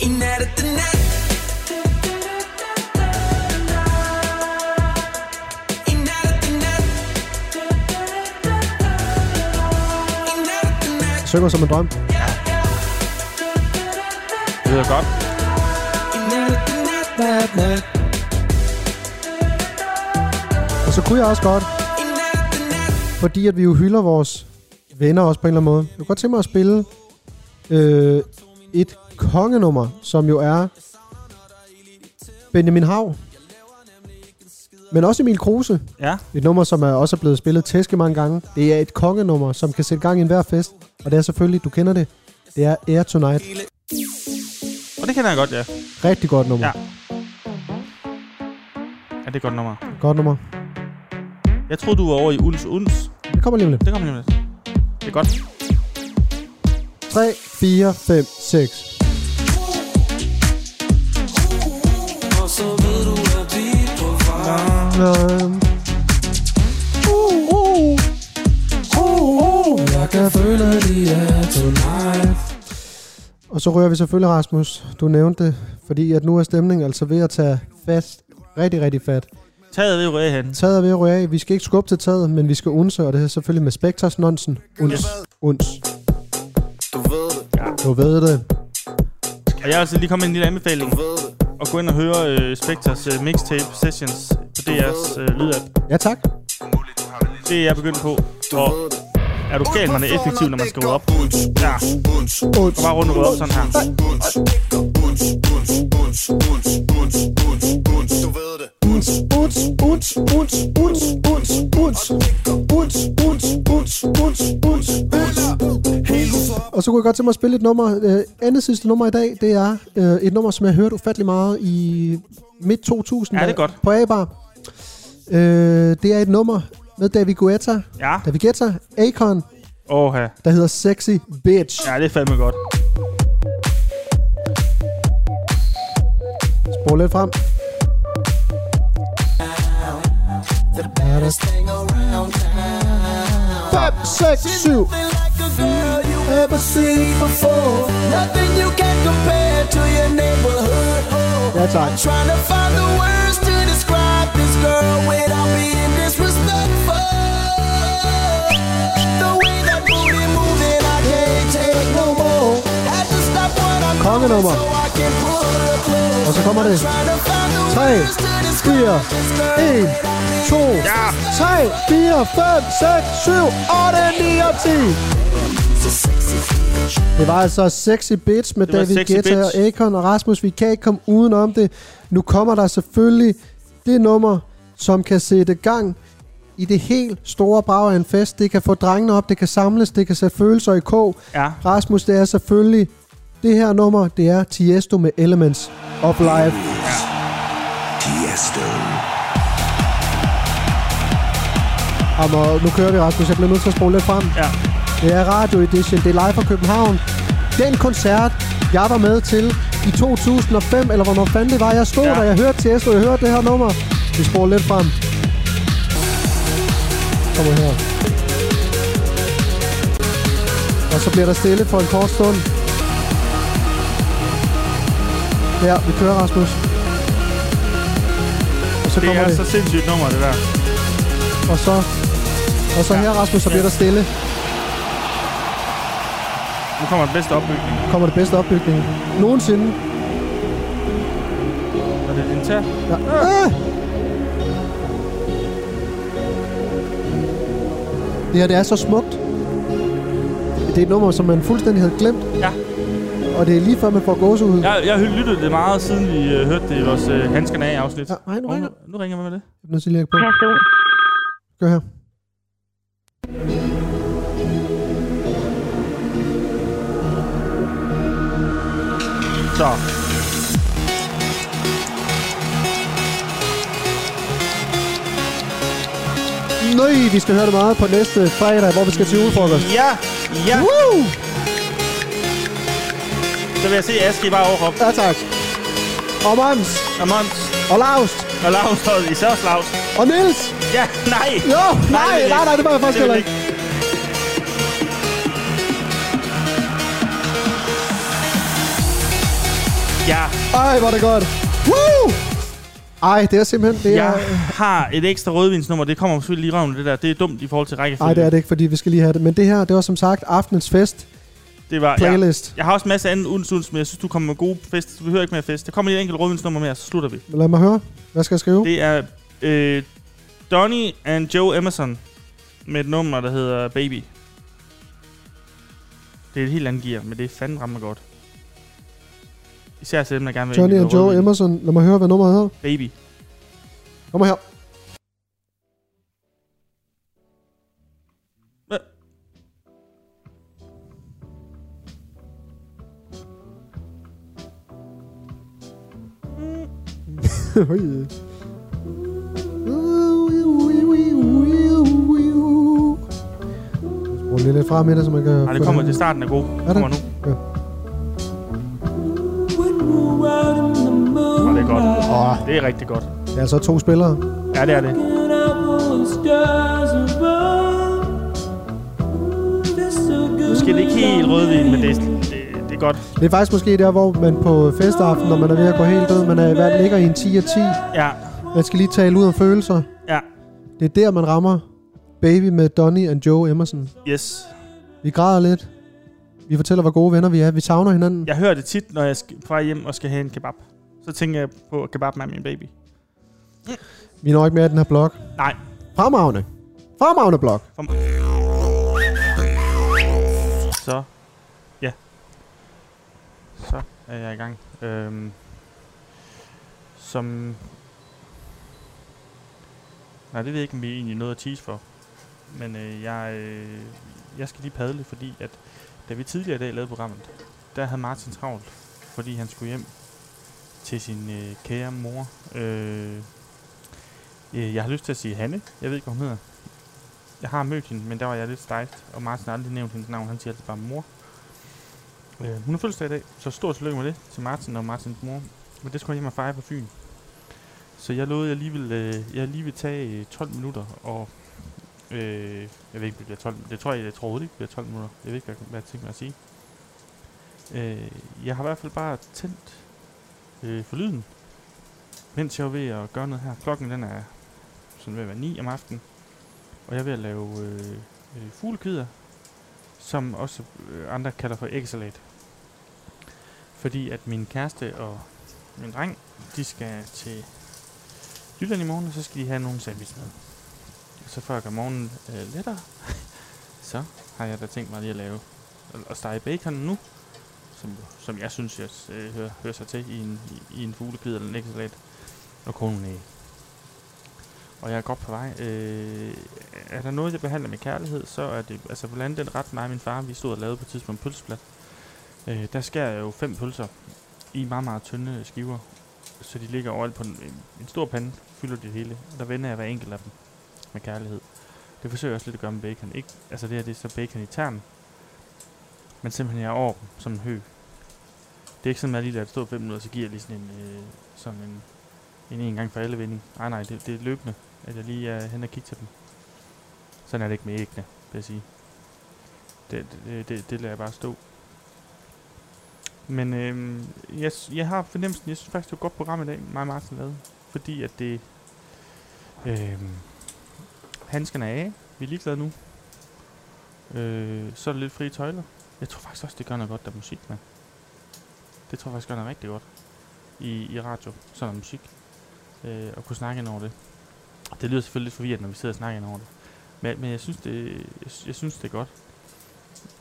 [SPEAKER 7] I nat er det nat. I nat er det nat. I nat er det nat.
[SPEAKER 3] Synger som en drøm.
[SPEAKER 2] Det lyder godt.
[SPEAKER 7] I nat er det nat, nat, nat.
[SPEAKER 3] Og så kunne jeg også godt,
[SPEAKER 7] I nat er det nat.
[SPEAKER 3] fordi at vi jo hylder vores venner også på en eller anden måde. Jeg kunne godt tænke mig at spille øh, et kongenummer, som jo er Benjamin Hav. Men også Emil Kruse.
[SPEAKER 2] Ja.
[SPEAKER 3] Et nummer, som er også er blevet spillet tæske mange gange. Det er et kongenummer, som kan sætte gang i enhver fest. Og det er selvfølgelig, du kender det. Det er Air Tonight.
[SPEAKER 2] Og det kender jeg godt, ja.
[SPEAKER 3] Rigtig godt nummer.
[SPEAKER 2] Ja. Ja, det er et godt nummer.
[SPEAKER 3] Godt nummer.
[SPEAKER 2] Jeg troede, du var over i Uns Uns.
[SPEAKER 3] Det kommer lige om lidt.
[SPEAKER 2] Det kommer lige om lidt. Det er godt.
[SPEAKER 3] 3, 4, 5, 6.
[SPEAKER 7] Og så ved du, at vi er på vej
[SPEAKER 3] Uh-huh.
[SPEAKER 7] Jeg kan føle, at de er tonight
[SPEAKER 3] Og så rører vi selvfølgelig, Rasmus. Du nævnte det, fordi at nu er stemningen altså ved at tage fast. Rigtig, rigtig fat.
[SPEAKER 2] Taget ved røde hen.
[SPEAKER 3] Taget er ved at ryge af. Vi skal ikke skubbe til taget, men vi skal unse, og det er selvfølgelig med Spectres nonsen. Uns. Uns.
[SPEAKER 8] Du ved det,
[SPEAKER 3] Du ved det.
[SPEAKER 2] Og jeg vil altså lige komme med en lille anbefaling. Og gå ind og høre øh, Spectres øh, mixtape sessions på DR's øh, lydapp.
[SPEAKER 3] Ja, tak.
[SPEAKER 2] Det er jeg begyndt på. Og er du gal, man er effektiv, når man skal rydde op. Ja.
[SPEAKER 3] Uns.
[SPEAKER 2] Og bare rundt og rydde op sådan her.
[SPEAKER 8] du ved det.
[SPEAKER 3] Uns, uns, uns, uns, uns, uns. Uns, uns, uns, uns, uns, uns. Og så kunne jeg godt tænke mig at spille et nummer. Øh, andet sidste nummer i dag, det er øh, et nummer, som jeg hørte ufattelig meget i midt 2000.
[SPEAKER 2] Ja, det er
[SPEAKER 3] da-
[SPEAKER 2] godt.
[SPEAKER 3] På A-bar. Øh, det er et nummer med David Guetta.
[SPEAKER 2] Ja.
[SPEAKER 3] David Guetta, Akon,
[SPEAKER 2] Åh, ja.
[SPEAKER 3] der hedder Sexy Bitch.
[SPEAKER 2] Ja, det er fandme godt.
[SPEAKER 3] Spol lidt frem. Fem, seks, syv. Ever seen before?
[SPEAKER 6] Nothing you can compare to your neighborhood. Oh,
[SPEAKER 3] Ja, tak.
[SPEAKER 6] trying to find the words to describe this girl without being disrespectful. The way that booty moving, I can't take no more. Had to stop what I'm
[SPEAKER 3] Kongenummer.
[SPEAKER 6] doing so I can pull her close.
[SPEAKER 3] Og så kommer det.
[SPEAKER 6] Trying to find the
[SPEAKER 3] 3,
[SPEAKER 6] words to describe
[SPEAKER 3] 4,
[SPEAKER 6] this girl
[SPEAKER 3] 1, 2, 3, 4, 5, 6, 7, 8, 9 og 10. Det var altså Sexy Bitch med
[SPEAKER 2] Det var
[SPEAKER 3] David
[SPEAKER 2] Sexy
[SPEAKER 3] Guetta
[SPEAKER 2] Bitch.
[SPEAKER 3] og Akon og Rasmus. Vi kan ikke komme udenom det. Nu kommer der selvfølgelig det nummer, som kan sætte gang i det helt store brag af en fest. Det kan få drengene op, det kan samles, det kan sætte følelser i kog.
[SPEAKER 2] Ja.
[SPEAKER 3] Rasmus, det er selvfølgelig det her nummer. Det er Tiesto med Elements of Life.
[SPEAKER 8] Tiesto.
[SPEAKER 3] Jamen, og nu kører vi, Rasmus. Jeg bliver nødt til at spole lidt frem.
[SPEAKER 2] Ja.
[SPEAKER 3] Det er Radio Edition. Det er live fra København. Den koncert, jeg var med til i 2005, eller hvornår fanden det var. Jeg stod ja.
[SPEAKER 2] Ja.
[SPEAKER 3] der, jeg hørte til Esto, jeg hørte det her nummer. Vi spoler lidt frem. Kommer her. Og så bliver der stille for en kort stund. Ja, vi kører, Rasmus. Og så
[SPEAKER 2] Det
[SPEAKER 3] kommer
[SPEAKER 2] er
[SPEAKER 3] det.
[SPEAKER 2] så sindssygt nummer, det der.
[SPEAKER 3] Og så, og så ja. her, Rasmus, så bliver der stille.
[SPEAKER 2] Nu kommer den bedste opbygning.
[SPEAKER 3] Kommer det bedste opbygning nogensinde.
[SPEAKER 2] Og det er din tær.
[SPEAKER 3] Ja. Ah! Det her, det er så smukt. Det er et nummer, som man fuldstændig havde glemt.
[SPEAKER 2] Ja.
[SPEAKER 3] Og det er lige før, man får gåsehud.
[SPEAKER 2] Jeg, jeg har lyttet det meget, siden vi øh, hørte det i vores øh, Handskerne af-afsnit.
[SPEAKER 3] Ja, nej, nu
[SPEAKER 2] Og
[SPEAKER 3] ringer.
[SPEAKER 2] nu, nu ringer vi med det.
[SPEAKER 3] Jeg er nødt til lige at lægge på.
[SPEAKER 4] Person.
[SPEAKER 3] Gør her.
[SPEAKER 2] Så.
[SPEAKER 3] Nøj, vi skal høre det meget på næste fredag, hvor vi skal til julefrokost.
[SPEAKER 2] Ja, ja.
[SPEAKER 3] Woo!
[SPEAKER 2] Så vil jeg se Aske bare overhoppe.
[SPEAKER 3] Ja, tak. Og Mams,
[SPEAKER 2] Og Måns,
[SPEAKER 3] og Laust,
[SPEAKER 2] og Lars, og især også Lars.
[SPEAKER 3] og Nils.
[SPEAKER 2] Ja, nej.
[SPEAKER 3] Jo, nej,
[SPEAKER 2] det vil
[SPEAKER 3] nej, nej, det var jeg faktisk
[SPEAKER 2] Det vil
[SPEAKER 3] heller
[SPEAKER 2] ikke.
[SPEAKER 3] ikke.
[SPEAKER 2] Ja,
[SPEAKER 3] Ej, hvor er det godt. Woo! Ej, det er simpelthen... Det er,
[SPEAKER 2] jeg har et ekstra rødvinsnummer. Det kommer selvfølgelig lige i røven, det der. Det er dumt i forhold til rækkefølge.
[SPEAKER 3] Nej, det er det ikke, fordi vi skal lige have det. Men det her, det var som sagt aftenens fest
[SPEAKER 2] Det var, ja.
[SPEAKER 3] playlist. Ja.
[SPEAKER 2] Jeg har også en masse andet uns, uns, men jeg synes, du kommer med gode fest. Vi hører ikke mere fest. Der kommer lige et enkelt rødvinsnummer mere, så slutter vi.
[SPEAKER 3] Lad mig høre. Hvad skal jeg skrive? Det.
[SPEAKER 2] Det er øh, Donny and Joe Emerson med et nummer, der hedder Baby. Det er et helt andet gear, men det er fandme rammer godt. Især selvom jeg gerne vil
[SPEAKER 3] Johnny
[SPEAKER 2] ind i
[SPEAKER 3] and
[SPEAKER 2] noget
[SPEAKER 3] Joe
[SPEAKER 2] rødvin.
[SPEAKER 3] Emerson. Lad mig høre, hvad nummeret hedder.
[SPEAKER 2] Baby.
[SPEAKER 3] Kom her.
[SPEAKER 2] Hva-
[SPEAKER 3] Oj. Rul det lidt frem i det, så man kan...
[SPEAKER 2] Nej, det kommer til starten er god.
[SPEAKER 3] Er det?
[SPEAKER 2] Kommer nu.
[SPEAKER 3] Ja.
[SPEAKER 2] Og det er godt.
[SPEAKER 3] Åh,
[SPEAKER 2] Det er rigtig godt.
[SPEAKER 3] det er altså to spillere.
[SPEAKER 2] Ja, det er det. Måske det er ikke helt rødvin, men det er, det, det er godt.
[SPEAKER 3] Det er faktisk måske der, hvor man på festaften, når man er ved at gå helt død, man er, hvad ligger i en 10 af 10.
[SPEAKER 2] Ja,
[SPEAKER 3] Man skal lige tale ud om følelser.
[SPEAKER 2] ja.
[SPEAKER 3] Det er der, man rammer Baby med Donny and Joe Emerson.
[SPEAKER 2] Yes.
[SPEAKER 3] Vi græder lidt. Vi fortæller, hvor gode venner vi er. Vi savner hinanden. Ja.
[SPEAKER 2] Jeg hører det tit, når jeg skal, på vej hjem og skal have en kebab. Så tænker jeg på kebab med min baby.
[SPEAKER 3] Vi når ikke mere af den her blog.
[SPEAKER 2] Nej,
[SPEAKER 3] Fremragende. Fremragende blog.
[SPEAKER 2] så... Ja. Så er jeg i gang. Øhm, som... Nej, det ved jeg ikke, om vi egentlig nåede at tease for. Men øh, jeg, øh, jeg skal lige padle, fordi at da vi tidligere i dag lavede programmet, der havde Martin travlt, fordi han skulle hjem til sin øh, kære mor. Øh, øh, jeg har lyst til at sige Hanne. Jeg ved ikke, hvad hun hedder. Jeg har mødt hende, men der var jeg lidt stejst, og Martin har aldrig nævnt hendes navn. Han siger altid bare mor. Øh, hun har fødselsdag i dag, så stort tillykke med det til Martin og Martins mor. Men det skulle jeg hjem og fejre på Fyn. Så jeg lovede, at jeg lige ville, øh, jeg lige ville tage øh, 12 minutter, og øh, jeg ved ikke, om det bliver 12 Det tror jeg, jeg troede ikke, det bliver 12 minutter. Jeg ved ikke, hvad, hvad jeg tænker mig at sige. Øh, jeg har i hvert fald bare tændt øh, for lyden, mens jeg var ved at gøre noget her. Klokken den er sådan ved at være 9 om aftenen. Og jeg er ved at lave øh, øh, fuglekvider, som også øh, andre kalder for æggesalat. Fordi at min kæreste og min dreng, de skal til Jylland i morgen, og så skal de have nogle sandwich med. Og så for at gøre morgenen øh, lettere, så har jeg da tænkt mig lige at lave og stege bacon nu, som, som jeg synes, jeg øh, hører, hører sig til i en, i, i en fuglekid eller en æggesalat, og koge nogle æg og jeg er godt på vej. Øh, er der noget, jeg behandler med kærlighed, så er det, altså hvordan den ret mig og min far, vi stod og lavede på et tidspunkt pølseblad. Øh, der skærer jeg jo fem pølser i meget, meget tynde skiver, så de ligger overalt på en, en- en stor pande, fylder det hele, og der vender jeg hver enkelt af dem med kærlighed. Det forsøger jeg også lidt at gøre med bacon. Ikke, altså det her, det er så bacon i tern, men simpelthen jeg er over dem, som en hø. Det er ikke sådan, at jeg lige lader det stå fem minutter, så giver jeg lige sådan en, øh, sådan en, en en gang for alle vending. Nej, nej, det, det er løbende at jeg lige er hen og kigge til dem. Sådan er det ikke med æggene, vil jeg sige. Det, det, det, det lader jeg bare stå. Men øhm, jeg, s- jeg har fornemmelsen, jeg synes faktisk, det var et godt program i dag, mig og Martin lavede. Fordi at det... Øhm, handskerne er af. Vi er ligeglade nu. Øh, så er der lidt frie tøjler. Jeg tror faktisk også, det gør noget godt, der er musik med. Det tror jeg faktisk gør noget rigtig godt. I, i radio, sådan musik. Øh, og kunne snakke ind over det. Det lyder selvfølgelig lidt forvirrende, når vi sidder og snakker ind over det. Men, men jeg, synes, det, jeg, sy- jeg synes, det er godt.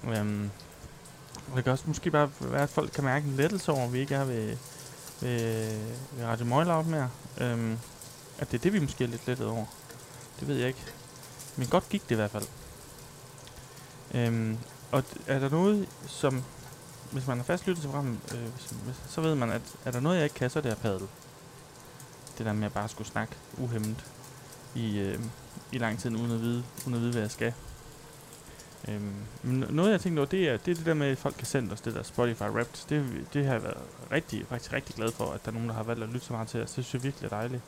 [SPEAKER 2] Øhm, og det kan også måske bare være, at folk kan mærke en lettelse over, at vi ikke er ved, ved, ved Radio Møglaut mere. Øhm, at det er det, vi måske er lidt lettet over. Det ved jeg ikke. Men godt gik det i hvert fald. Øhm, og d- er der noget, som... Hvis man har fast lyttet til programmet, øh, hvis, hvis, så ved man, at er der noget, jeg ikke kan, så er det at padle. Det der med at bare skulle snakke uhemmet i, øh, i lang tid, uden at vide, uden at vide hvad jeg skal. Øhm, men no- noget jeg tænkte over, det er, det er det der med, at folk kan sende os det der Spotify Wrapped. Det, det har jeg været rigtig, faktisk rigtig glad for, at der er nogen, der har valgt at lytte så meget til os. Det synes jeg virkelig er dejligt.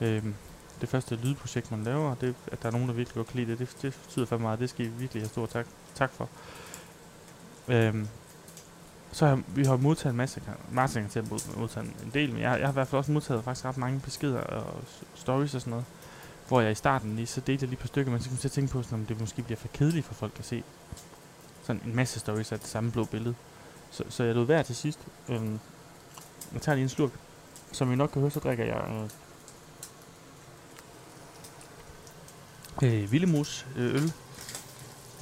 [SPEAKER 2] Øhm, det første lydprojekt, man laver, det, at der er nogen, der virkelig godt kan lide det, det, det betyder for meget. Det skal I virkelig have stor tak, tak for. Øhm, så har vi har modtaget en masse, Martin kan til at mod- modtage en del, men jeg, jeg har i hvert fald også modtaget faktisk ret mange beskeder og s- stories og sådan noget hvor jeg i starten lige, så delte jeg lige på stykker, men så kom jeg til at tænke på, sådan, om det måske bliver for kedeligt for folk at se. Sådan en masse stories af det samme blå billede. Så, så jeg lod være til sidst. Øhm, jeg tager lige en slurk. Som I nok kan høre, så drikker jeg øh, øh, Villemus øh, øl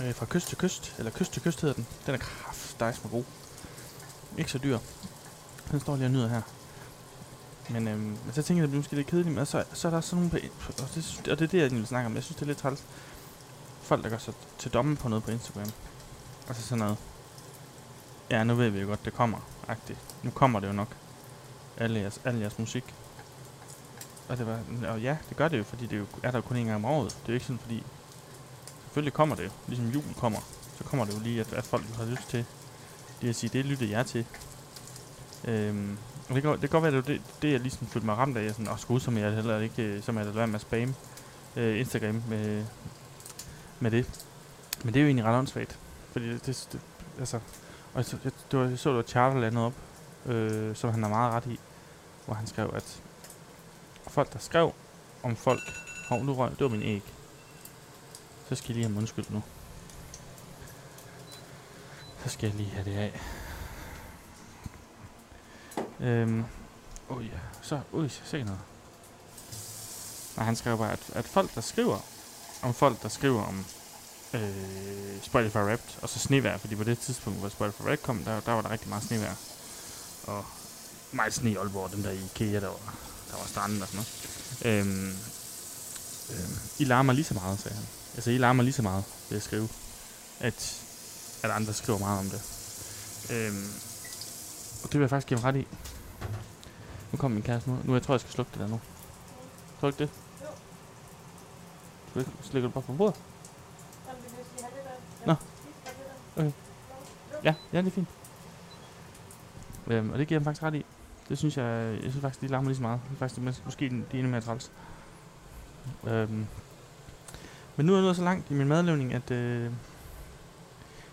[SPEAKER 2] øh, fra kyst til kyst, eller kyst til kyst hedder den. Den er kraftedejs med god. Ikke så dyr. den står lige og nyder her. Men, øhm, men så tænker jeg, at det bliver måske lidt kedeligt, men så, så er der sådan nogle på, på- og, det, synes- og det er det, jeg egentlig vil snakke om. Jeg synes, det er lidt træls. Folk, der gør sig til domme på noget på Instagram. Altså sådan noget. Ja, nu ved vi jo godt, det kommer. Agtigt. Nu kommer det jo nok. Alle jeres, alle jeres musik. Og, det var, og ja, det gør det jo, fordi det jo, er der jo kun en gang om året. Det er jo ikke sådan, fordi... Selvfølgelig kommer det jo. Ligesom julen kommer, så kommer det jo lige, at, at folk har lyst til lige at sige, det lyttede jeg til. Øhm, og det kan, det kan godt være, at det, var det, det jeg ligesom følte mig ramt af, jeg sådan, åh, skud, som jeg heller ikke, øh, som jeg lader være med at spamme øh, Instagram med, med det. Men det er jo egentlig ret åndssvagt. Fordi det, det, det altså, og jeg, så- jeg, det var, jeg så, der var Charter landet op, øh, som han har meget ret i, hvor han skrev, at folk, der skrev om folk, hov, nu røg, det var min æg. Så skal jeg lige have mundskyld nu. Så skal jeg lige have det af. Øhm, oh ja, så, ui, se noget. Nej, han skrev bare, at, at folk, der skriver om folk, der skriver om øh, Spotify Wrapped, og så snevejr, fordi på det tidspunkt, hvor Spotify Wrapped kom, der, der var der rigtig meget snevejr. Og meget sne i Aalborg, den der IKEA, der var, der var stranden og sådan noget. Øhm, øhm, I larmer lige så meget, sagde han. Altså, I larmer lige så meget ved at skrive, at, at andre skriver meget om det. Øhm, og det vil jeg faktisk give ham ret i. Nu kommer min kæreste nu. Nu jeg tror, jeg skal slukke det der nu. Tror du ikke det? Jo. Slikker du bare på bordet? Nå. Okay. Ja, ja, det er fint. Øhm, og det giver jeg ham faktisk ret i. Det synes jeg, jeg synes faktisk, de larmer lige så meget. Det er faktisk det, mest- måske de er endnu mere træls. Øhm. Men nu er jeg nået så langt i min madlavning, at øh,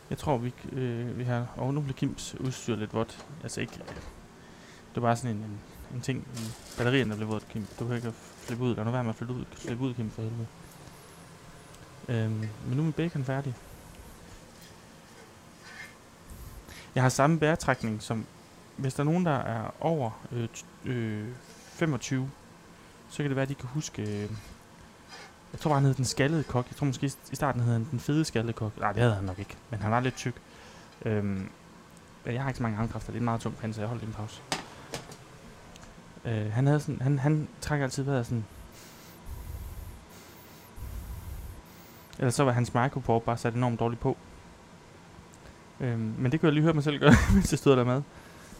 [SPEAKER 2] jeg tror, vi, øh, vi har... Og nu blev Kims udstyr lidt vådt. Altså ikke... Det var bare sådan en, en, en ting. En batterien, der blev vådt, Kim. Du kan ikke at flippe ud. Lad nu være med at flippe ud, flippe ud Kim, for helvede. Øhm, men nu er min bacon færdig. Jeg har samme bæretrækning som... Hvis der er nogen, der er over øh, t- øh, 25, så kan det være, at de kan huske... Øh, jeg tror bare, han hed den skaldede kok. Jeg tror måske i starten hed han den fede skaldede kok. Nej, det havde han nok ikke, men han var lidt tyk. Øhm, men jeg har ikke så mange armkræfter. Det er en meget tung pande, så jeg holdt en pause. Øh, han, havde sådan, han, han trækker altid vejret sådan... Eller så var hans microport bare sat enormt dårligt på. Øhm, men det kunne jeg lige høre mig selv gøre, mens jeg stod der med.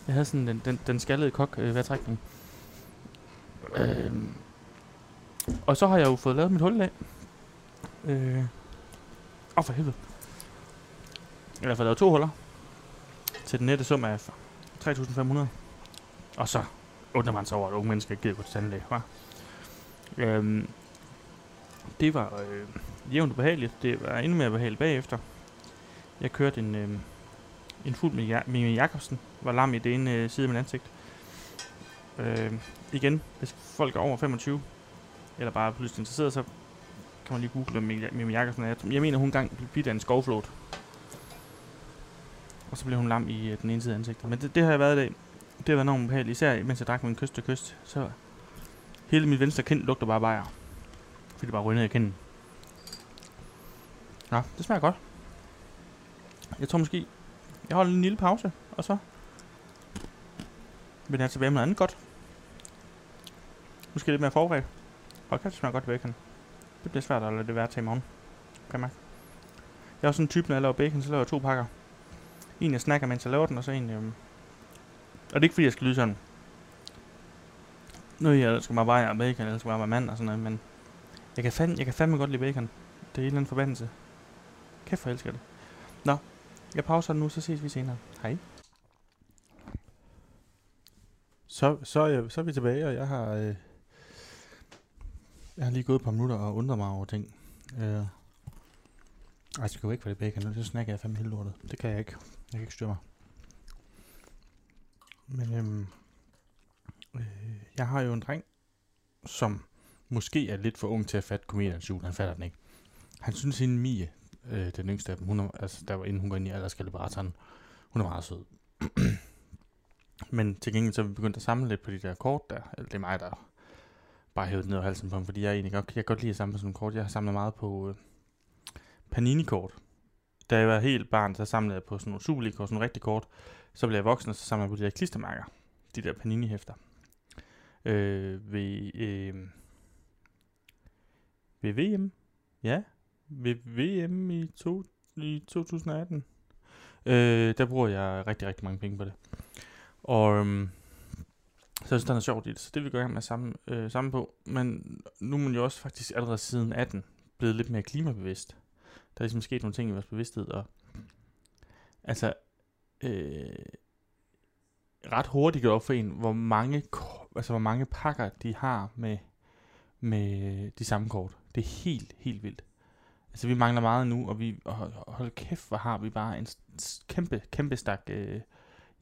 [SPEAKER 2] Jeg havde sådan den, den, den skaldede kok øh, vejrtrækning. Øhm, og så har jeg jo fået lavet mit hul i dag. Øh, Åh, oh, for helvede. Jeg har fået lavet to huller. Til den nette sum af 3.500. Og så undrer man sig over, at unge mennesker ikke gider gå til tandlæge, hva? Øhm, det var øh, jævnt ubehageligt. Det var endnu mere behageligt bagefter. Jeg kørte en, øh, en fuld med ja- Mimi Jacobsen. Var lam i det ene øh, side af min ansigt. Øh, igen, hvis folk er over 25, eller bare pludselig interesseret, så kan man lige google, om Mimi- Mimi Jacobsen er. Jeg- Jeg mener, hun engang blev bidt af en skovflot. Og så blev hun lam i øh, den ene side af ansigtet. Men det, det har jeg været i dag. Det har været enormt ubehageligt, især mens jeg drak min kyst til kyst, så hele min venstre kind lugter bare bajer. Fordi det bare rynnede i kinden. Nå, det smager godt. Jeg tror måske, jeg holder en lille pause, og så vender jeg tilbage med noget andet godt. Måske lidt mere forberedt. Og kan det smager godt i bacon. Det bliver svært at lade det være til i morgen. Kan jeg mærke. Jeg er også sådan en type, når jeg laver bacon, så laver jeg to pakker. En jeg snakker, mens jeg laver den, og så en, øhm, og det er ikke fordi, jeg skal lyde sådan. Nu jeg elsker mig bare jeg er bacon, jeg elsker bare mig mand og sådan noget, men jeg kan, fandme, jeg kan fandme godt lide bacon. Det er en eller anden forbandelse. Kæft for jeg elsker det. Nå, jeg pauser nu, så ses vi senere. Hej.
[SPEAKER 9] Så, så, er jeg, så er vi tilbage, og jeg har, øh, jeg har lige gået et par minutter og undret mig over ting. Øh, ej, jeg skal jo væk fra det bacon, nu, så snakker jeg fandme hele lortet. Det kan jeg ikke. Jeg kan ikke styre mig. Men øhm, øh, jeg har jo en dreng, som måske er lidt for ung til at fatte komediernes jul. Han fatter den ikke. Han synes, hende Mie, øh, den yngste af dem, hun er, altså, der var inden hun går ind i alderskalibatoren, hun er meget sød. Men til gengæld så er vi begyndt at samle lidt på de der kort der. Eller det er mig, der bare hævet ned over halsen på dem, fordi jeg er egentlig godt, jeg kan godt lide at samle sådan nogle kort. Jeg har samlet meget på øh, Panini-kort. Da jeg var helt barn, så samlede jeg på sådan nogle Superliga-kort, sådan nogle rigtige kort. Så blev jeg voksen, og så samlede jeg på de der klistermærker.
[SPEAKER 2] de der panini-hæfter øh, ved, øh, ved VM. Ja, ved VM i, to, i 2018. Øh, der bruger jeg rigtig, rigtig mange penge på det. Og øhm, så jeg synes, den er sjovt i det, så det vil jeg gå i gang med at samle, øh, samle på. Men nu er man jo også faktisk allerede siden 18 blevet lidt mere klimabevidst. Der er ligesom sket nogle ting i vores bevidsthed, og altså øh, ret hurtigt gået op for en, hvor mange, ko- altså, hvor mange pakker de har med, med de samme kort. Det er helt, helt vildt. Altså, vi mangler meget nu, og vi og hold, hold kæft, hvor har vi bare en s- s- kæmpe, kæmpe stak, øh, ja,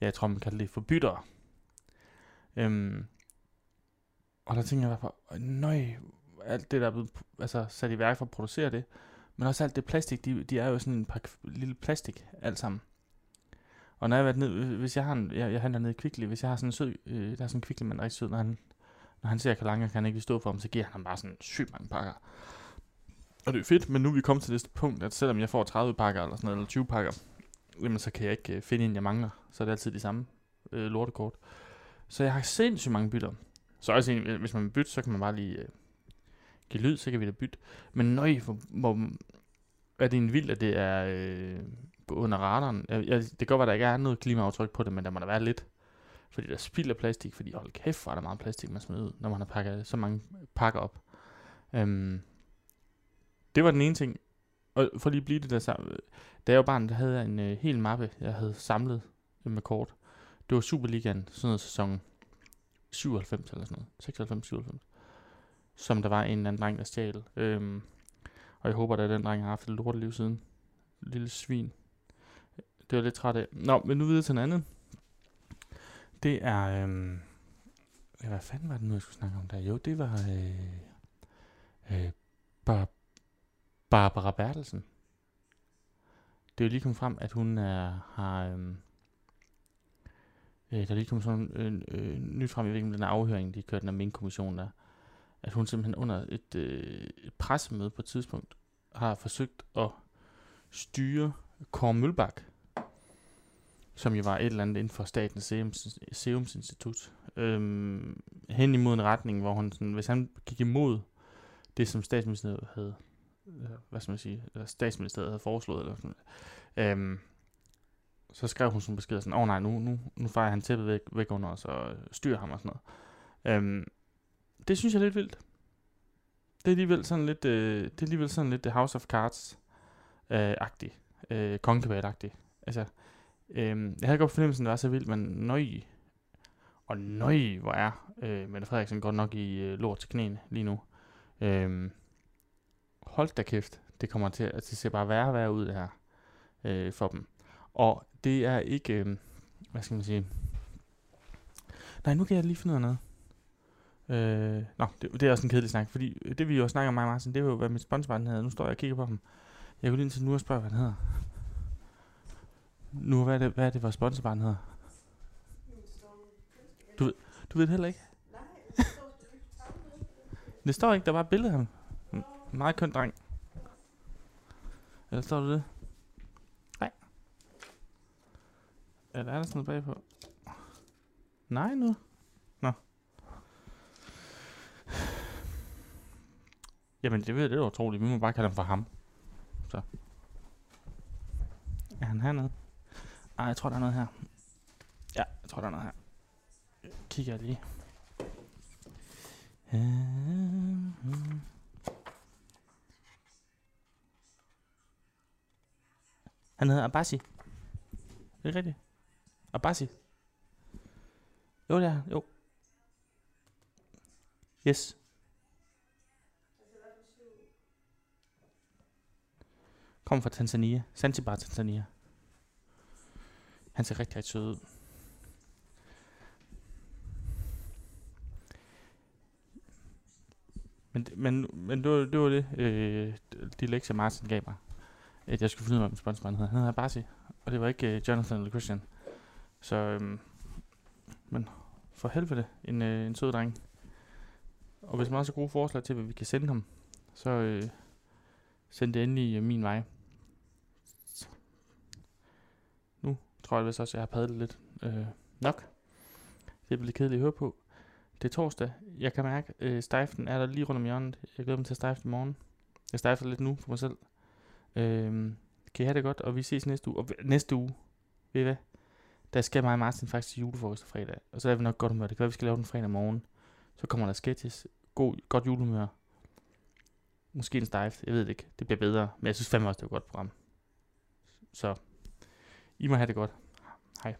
[SPEAKER 2] jeg tror, man kalder det for bytter. Øhm, og der tænker jeg bare på, nøj, alt det, der er blevet p- altså, sat i værk for at producere det, men også alt det plastik, de, de er jo sådan en pakke lille plastik, alt sammen. Og når jeg har været ned, hvis jeg har en, jeg, jeg handler ned i Kvickly, hvis jeg har sådan en sød, øh, der er sådan en Kvickly, man er rigtig sød, når han, når han ser Kalanga, kan han ikke lige stå for ham, så giver han ham bare sådan sygt mange pakker. Og det er fedt, men nu er vi kommet til det punkt, at selvom jeg får 30 pakker eller sådan noget, eller 20 pakker, jamen så kan jeg ikke øh, finde en, jeg mangler. Så er det altid de samme øh, lortekort. Så jeg har sindssygt mange bytter. Så også en, hvis man vil bytte, så kan man bare lige øh, give lyd, så kan vi da bytte. Men nøj, hvor, hvor er det en vild, at det er øh, gå under radaren. Jeg, jeg, det kan godt være, at der ikke er noget klimaaftryk på det, men der må der være lidt. Fordi der spilder plastik, fordi hold kæft, hvor er der meget plastik, man smider ud, når man har pakket så mange pakker op. Øhm, det var den ene ting. Og for lige at blive det der sammen. Da jeg var barn, der havde jeg en øh, hel mappe, jeg havde samlet øh, med kort. Det var Superligaen, sådan noget sæson 97 eller sådan noget. 96-97. Som der var en eller anden dreng, der stjal. Øhm, og jeg håber da, at den dreng har haft et lorteliv siden. Lille svin. Det var jeg lidt træt af. Nå, men nu videre til en anden. Det er... Øhm, ja, hvad fanden var det nu, jeg skulle snakke om der? Jo, det var... Øh, øh, Bar- Barbara Bertelsen. Det er jo lige kommet frem, at hun er, har... Øhm, øh, der er lige kommet sådan en øh, øh, nyt frem, jeg ved ikke, om den her afhøring, de kørte den af Mink-kommissionen der at hun simpelthen under et, øh, et pressemøde på et tidspunkt har forsøgt at styre Kåre Mølbak, som jo var et eller andet inden for Statens Serum, Serum Institut, øhm, hen imod en retning, hvor hun sådan, hvis han gik imod det, som statsministeriet havde, øh, hvad skal man sige, eller statsministeriet havde foreslået, eller sådan, øhm, så skrev hun sådan en besked sådan, åh oh, nej, nu, nu, nu fejrer han tæppet væk, væk under os og øh, styrer ham og sådan noget. Øhm, det synes jeg er lidt vildt. Det er alligevel sådan lidt, øh, det er alligevel sådan lidt øh, House of Cards øh, agtig øh, kongekabal agtig Altså, øh, jeg havde godt fornemmelsen, at det var så vildt, men nøj, og nøj, hvor er øh, Mette Frederiksen godt nok i øh, lort til knæene lige nu. Øh, hold da kæft, det kommer til at det ser bare værre og værre ud det her øh, for dem. Og det er ikke, øh, hvad skal man sige, nej, nu kan jeg lige finde ud af noget. Øh, nå, det, det er også en kedelig snak, fordi det vi jo snakker om mig og Martin, det var jo, hvad mit sponsor han hedder. Nu står jeg og kigger på ham. Jeg går lige ind til nu og spørger, hvad han hedder. Nu, hvad er det, hvad er det vores sponsor han hedder? Du, ved- du ved det heller ikke? det står ikke, der var et billede af ham. En meget køn dreng. Eller står du det? Nej. Eller er der sådan noget bagpå? Nej nu. Jamen, det ved jeg, det er utroligt. Vi må bare kalde ham for ham. Så. Er han hernede? Ej, jeg tror, der er noget her. Ja, jeg tror, der er noget her. Kigger jeg lige. Øh, Han hedder Abassi. Er det ikke rigtigt? Abassi. Jo, det er han. Jo. Yes. Kom fra Tanzania. Zanzibar, Tanzania. Han ser rigtig, rigtig sød ud. Men, men, men det, var, det var det, øh, de lektier Martin gav mig. At jeg skulle finde ud af, hvem sponsoren hed. Han hedder Barsi, og det var ikke øh, Jonathan eller Christian. Så, øhm, men for helvede, en, øh, en sød dreng. Og hvis man også har gode forslag til, hvad vi kan sende ham, så... Øh, Send det endelig øh, min vej. Så. Nu tror jeg vist også, at jeg har padlet lidt øh, nok. Det bliver lidt kedeligt at høre på. Det er torsdag. Jeg kan mærke, øh, stejften er der lige rundt om hjørnet. Jeg glæder mig til at stejfte i morgen. Jeg stejfter lidt nu for mig selv. Øhm, kan I have det godt, og vi ses næste uge. Og v- næste uge, ved I hvad? Der skal mig og Martin faktisk til julefrokost fredag. Og så er vi nok godt humør. Det kan være, vi skal lave den fredag morgen. Så kommer der sketches. God, godt julehumør. Måske en stejft. Jeg ved det ikke. Det bliver bedre. Men jeg synes fandme også, det er et godt program. Så I må have det godt. Hej.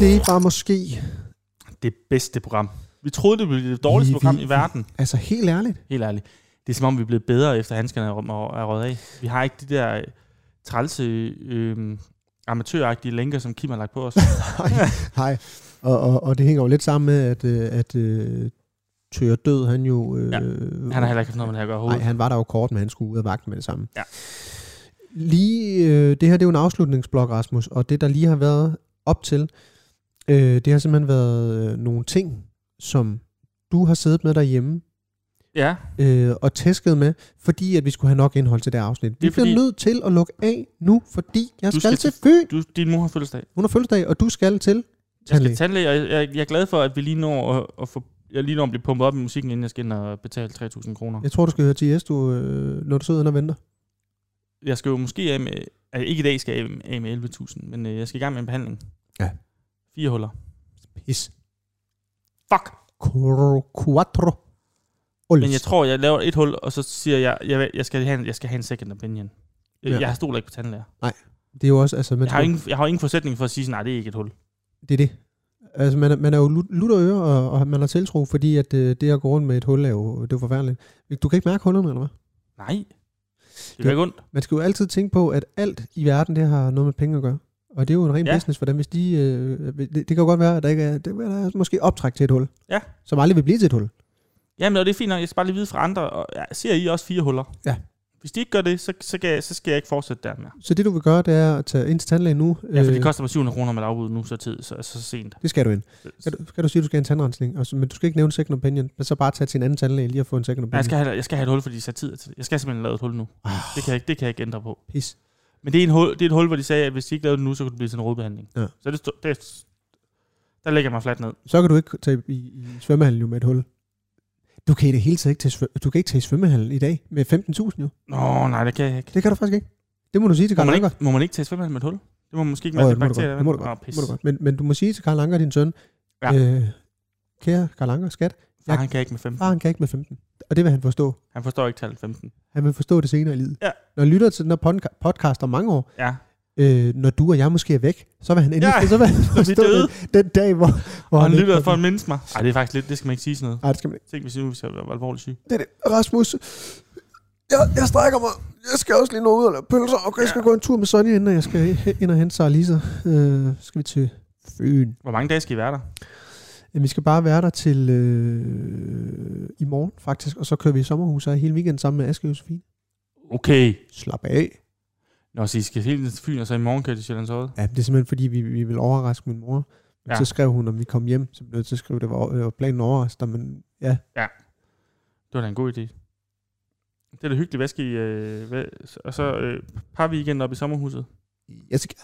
[SPEAKER 3] Det var måske...
[SPEAKER 2] det bedste program. Vi troede, det ville blive det dårligste
[SPEAKER 3] Vi-
[SPEAKER 2] program
[SPEAKER 3] vi-
[SPEAKER 2] i verden.
[SPEAKER 3] Altså, helt ærligt.
[SPEAKER 2] Helt ærligt. Det er som om, vi er blevet bedre, efter handskerne er, rø- er røget af. Vi har ikke de der øh, trælse, øh, amatøragtige lænker, som Kim har lagt på os.
[SPEAKER 3] Hej. Og, og, og det hænger jo lidt sammen med, at, øh, at uh, Tør Død, han jo... Øh,
[SPEAKER 2] Ja. Han har heller ikke haft noget med det her at gøre
[SPEAKER 3] Nej,
[SPEAKER 2] overhovedet.
[SPEAKER 3] han var der jo kort, men han skulle ud af vagten med det samme.
[SPEAKER 2] Ja.
[SPEAKER 3] Lige, øh, det her det er jo en afslutningsblok, Rasmus, og det der lige har været op til, øh, det har simpelthen været øh, nogle ting, som du har siddet med derhjemme
[SPEAKER 2] Ja,
[SPEAKER 3] øh, og tæsket med, fordi at vi skulle have nok indhold til det afsnit.
[SPEAKER 2] Det
[SPEAKER 3] Vi
[SPEAKER 2] er
[SPEAKER 3] bliver
[SPEAKER 2] fordi-
[SPEAKER 3] nødt til at lukke af nu, fordi jeg
[SPEAKER 2] Du
[SPEAKER 3] skal,
[SPEAKER 2] skal
[SPEAKER 3] til Fyn.
[SPEAKER 2] du, din mor har fødselsdag.
[SPEAKER 3] Hun har fødselsdag, og du skal til
[SPEAKER 2] Jeg
[SPEAKER 3] Tandlæge.
[SPEAKER 2] skal tandlæge, og jeg, jeg, jeg er glad for, at vi lige når at, at få, jeg lige når at blive pumpet op i musikken, inden jeg skal ind og betale 3.000 kroner.
[SPEAKER 3] Jeg tror, du skal høre til du, øh, når du sidder og venter.
[SPEAKER 2] Jeg skal jo måske af med, altså ikke i dag skal jeg af- af med 11.000, men øh, jeg skal i gang med en behandling.
[SPEAKER 3] Ja.
[SPEAKER 2] Fire huller.
[SPEAKER 3] Pis.
[SPEAKER 2] Fuck!
[SPEAKER 3] Quattro. Quattro. Ols.
[SPEAKER 2] Men jeg tror, jeg laver et hul, og så siger jeg, jeg, jeg, skal, have en, jeg skal have en second opinion.
[SPEAKER 3] Ja.
[SPEAKER 2] Ja. Jeg stoler ikke på tandlæger.
[SPEAKER 3] det er jo også, altså, man,
[SPEAKER 2] Jeg har,
[SPEAKER 3] tror,
[SPEAKER 2] jo ingen, jeg har jo ingen forudsætning for at sige, sådan, nej, det er ikke et hul.
[SPEAKER 3] det er det. Altså, man, er- man er jo lut- lutter øre, og, og man har tiltro, fordi at øh, det at gå rundt med et hul er jo, det er jo forfærdeligt. Du kan ikke mærke hullerne, eller hvad?
[SPEAKER 2] Nej. Det
[SPEAKER 3] Det-
[SPEAKER 2] er ikke ondt.
[SPEAKER 3] Man skal jo altid tænke på, at alt i verden, det har noget med penge at gøre. Og det er jo en ren
[SPEAKER 2] Ja.
[SPEAKER 3] ja. business for dem, hvis de... Øh, det, det kan jo godt være, at der ikke er, det, der er måske optræk til et hul.
[SPEAKER 2] Ja.
[SPEAKER 3] Som aldrig vil blive til et hul.
[SPEAKER 2] Jamen, og det er fint nok. Jeg skal bare lige vide fra andre. Og, ja, ser I også fire huller?
[SPEAKER 3] Ja.
[SPEAKER 2] Hvis de ikke gør det, så, så, kan jeg, så skal jeg ikke fortsætte der mere.
[SPEAKER 3] Så det, du vil gøre, det er at tage ind til tandlægen nu.
[SPEAKER 2] Ja, for
[SPEAKER 3] øh,
[SPEAKER 2] det koster mig 700 kroner med et afbud nu, så, tid, så, så sent.
[SPEAKER 3] det skal du ind. Skal
[SPEAKER 2] Så,
[SPEAKER 3] du, skal du sige, at du skal have en tandrensning, og så, men du skal ikke nævne second opinion, men så bare tage til en anden tandlæge lige og få en second opinion.
[SPEAKER 2] jeg, skal have, jeg skal have et hul, fordi de satte tid til det. Jeg skal simpelthen lave et hul nu.
[SPEAKER 3] Ah.
[SPEAKER 2] Det kan, jeg, ikke- det kan jeg ikke ændre på.
[SPEAKER 3] Pis.
[SPEAKER 2] Men det er, en hul, det er et hul, hvor de sagde, at hvis de ikke lavede det nu, så kunne det blive til en rådbehandling.
[SPEAKER 3] Ja.
[SPEAKER 2] Så det, stå- det, der lægger jeg mig fladt ned.
[SPEAKER 3] Så kan du ikke tage i, i svømmehallen jo med et hul. Du kan i det hele taget ikke tage, svø- du kan ikke tage i svømmehallen i dag med 15.000 jo.
[SPEAKER 2] Nå, nej, det kan jeg ikke.
[SPEAKER 3] Det kan du faktisk ikke. Det må du sige til
[SPEAKER 2] Må
[SPEAKER 3] Karl
[SPEAKER 2] man,
[SPEAKER 3] Anker.
[SPEAKER 2] ikke må man ikke tage svømmehallen med et hul? Det må man måske ikke
[SPEAKER 3] Åh,
[SPEAKER 2] med
[SPEAKER 3] ja,
[SPEAKER 2] oh,
[SPEAKER 3] det må
[SPEAKER 2] bakterier.
[SPEAKER 3] du godt. Det må du
[SPEAKER 2] vel? Åh,
[SPEAKER 3] godt.
[SPEAKER 2] pis.
[SPEAKER 3] Må du godt. Men, men du må sige til Karl Anker, din søn,
[SPEAKER 2] Ja.
[SPEAKER 3] øh, kære Karl Anker, skat,
[SPEAKER 2] Far, han kan ikke med 15.
[SPEAKER 3] far han kan ikke med 15. Og det vil han forstå.
[SPEAKER 2] Han forstår ikke tallet 15.
[SPEAKER 3] Han vil forstå det senere i livet.
[SPEAKER 2] Ja.
[SPEAKER 3] Når han lytter til den her podca- podcast om mange år,
[SPEAKER 2] Ja.
[SPEAKER 3] øh, når du og jeg måske er væk, så vil han endelig
[SPEAKER 2] Ja,
[SPEAKER 3] så vil han
[SPEAKER 2] vi
[SPEAKER 3] forstå
[SPEAKER 2] døde.
[SPEAKER 3] den, den dag, hvor, hvor
[SPEAKER 2] Og han
[SPEAKER 3] ikke
[SPEAKER 2] lytter
[SPEAKER 3] kan-
[SPEAKER 2] for at mindse mig. Nej, det er faktisk lidt, det skal man ikke sige sådan noget.
[SPEAKER 3] Nej, det skal man ikke.
[SPEAKER 2] Tænk, hvis jeg nu hvis jeg var alvorligt syg.
[SPEAKER 3] Det er det. Rasmus, jeg, jeg strækker mig. Jeg skal også lige nå ud og lave pølser. Okay, jeg skal ja. gå en tur med Sonja, inden jeg skal ind og hente Sara Lisa. Øh, skal vi til Fyn.
[SPEAKER 2] Hvor mange dage skal I være der?
[SPEAKER 3] Jamen, vi skal bare være der til øh, i morgen, faktisk. Og så kører vi i sommerhus her hele weekenden sammen med Aske og Josefine.
[SPEAKER 2] Okay.
[SPEAKER 3] Slap af.
[SPEAKER 2] Nå, så I skal hele tiden til Fyn, og så i morgen kan I til Sjællands Odde.
[SPEAKER 3] Ja, det er simpelthen, fordi vi, vi vil overraske min mor.
[SPEAKER 2] Ja.
[SPEAKER 3] Ja. Så skrev hun, om vi kom hjem. Så blev jeg nødt til at skrive, det var, det var planen overrasker, men ja,
[SPEAKER 2] Det var da en god idé. Det er da hyggeligt. Hvad skal I... Øh, hvad, og så øh, par weekend op i sommerhuset.
[SPEAKER 3] Jeg skal...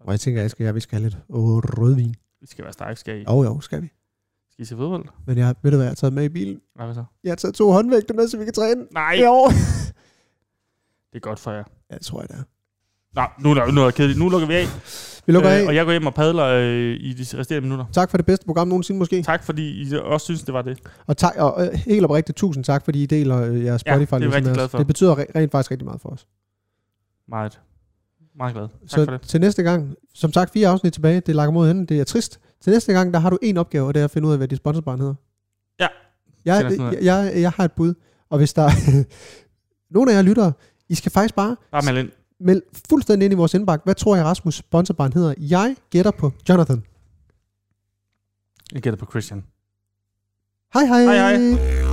[SPEAKER 3] Og jeg tænker, jeg skal, jeg, vi skal have lidt åh, rødvin.
[SPEAKER 2] Vi skal være stærke, skal I.
[SPEAKER 3] Jo, jo, skal vi.
[SPEAKER 2] Skal I se fodbold?
[SPEAKER 3] Men jeg, ved du hvad, jeg har taget med i bilen.
[SPEAKER 2] Nej, hvad så?
[SPEAKER 3] Jeg har taget to håndvægte med, så vi kan træne.
[SPEAKER 2] Nej,
[SPEAKER 3] Jo.
[SPEAKER 2] det er godt for jer.
[SPEAKER 3] Ja, det tror jeg, det er.
[SPEAKER 2] Nå, nu er der jo noget kedeligt. Nu lukker vi af,
[SPEAKER 3] Vi lukker øh, af.
[SPEAKER 2] og jeg går hjem og padler øh, i de resterende minutter.
[SPEAKER 3] Tak for det bedste program nogensinde måske.
[SPEAKER 2] Tak, fordi I også synes, det var det.
[SPEAKER 3] Og, tak, og øh, helt oprigtigt, tusind tak, fordi I deler øh, jeres
[SPEAKER 2] Ja, det er vi
[SPEAKER 3] spotify
[SPEAKER 2] rigtig glade for.
[SPEAKER 3] Det betyder re- rent faktisk rigtig meget for os.
[SPEAKER 2] Meget, meget glad. Tak
[SPEAKER 3] så
[SPEAKER 2] for det.
[SPEAKER 3] til næste gang, som sagt, fire afsnit tilbage. Det lakker mod hende. Det er trist. Til næste gang, der har du en opgave, og det er at finde ud af, hvad dit sponsorbarn hedder.
[SPEAKER 2] Ja.
[SPEAKER 3] Jeg,
[SPEAKER 2] Finder sådan
[SPEAKER 3] jeg, jeg, jeg har et bud. Og hvis der er nogen af jer lyttere, I skal faktisk bare
[SPEAKER 2] Bare meld ind.
[SPEAKER 3] Meld fuldstændig ind i vores indbakke. Hvad tror jeg, Rasmus sponsorbarn hedder? Jeg gætter på Jonathan.
[SPEAKER 2] Jeg gætter på Christian.
[SPEAKER 3] Hej hej.
[SPEAKER 2] Hej, hej.
[SPEAKER 8] Hej.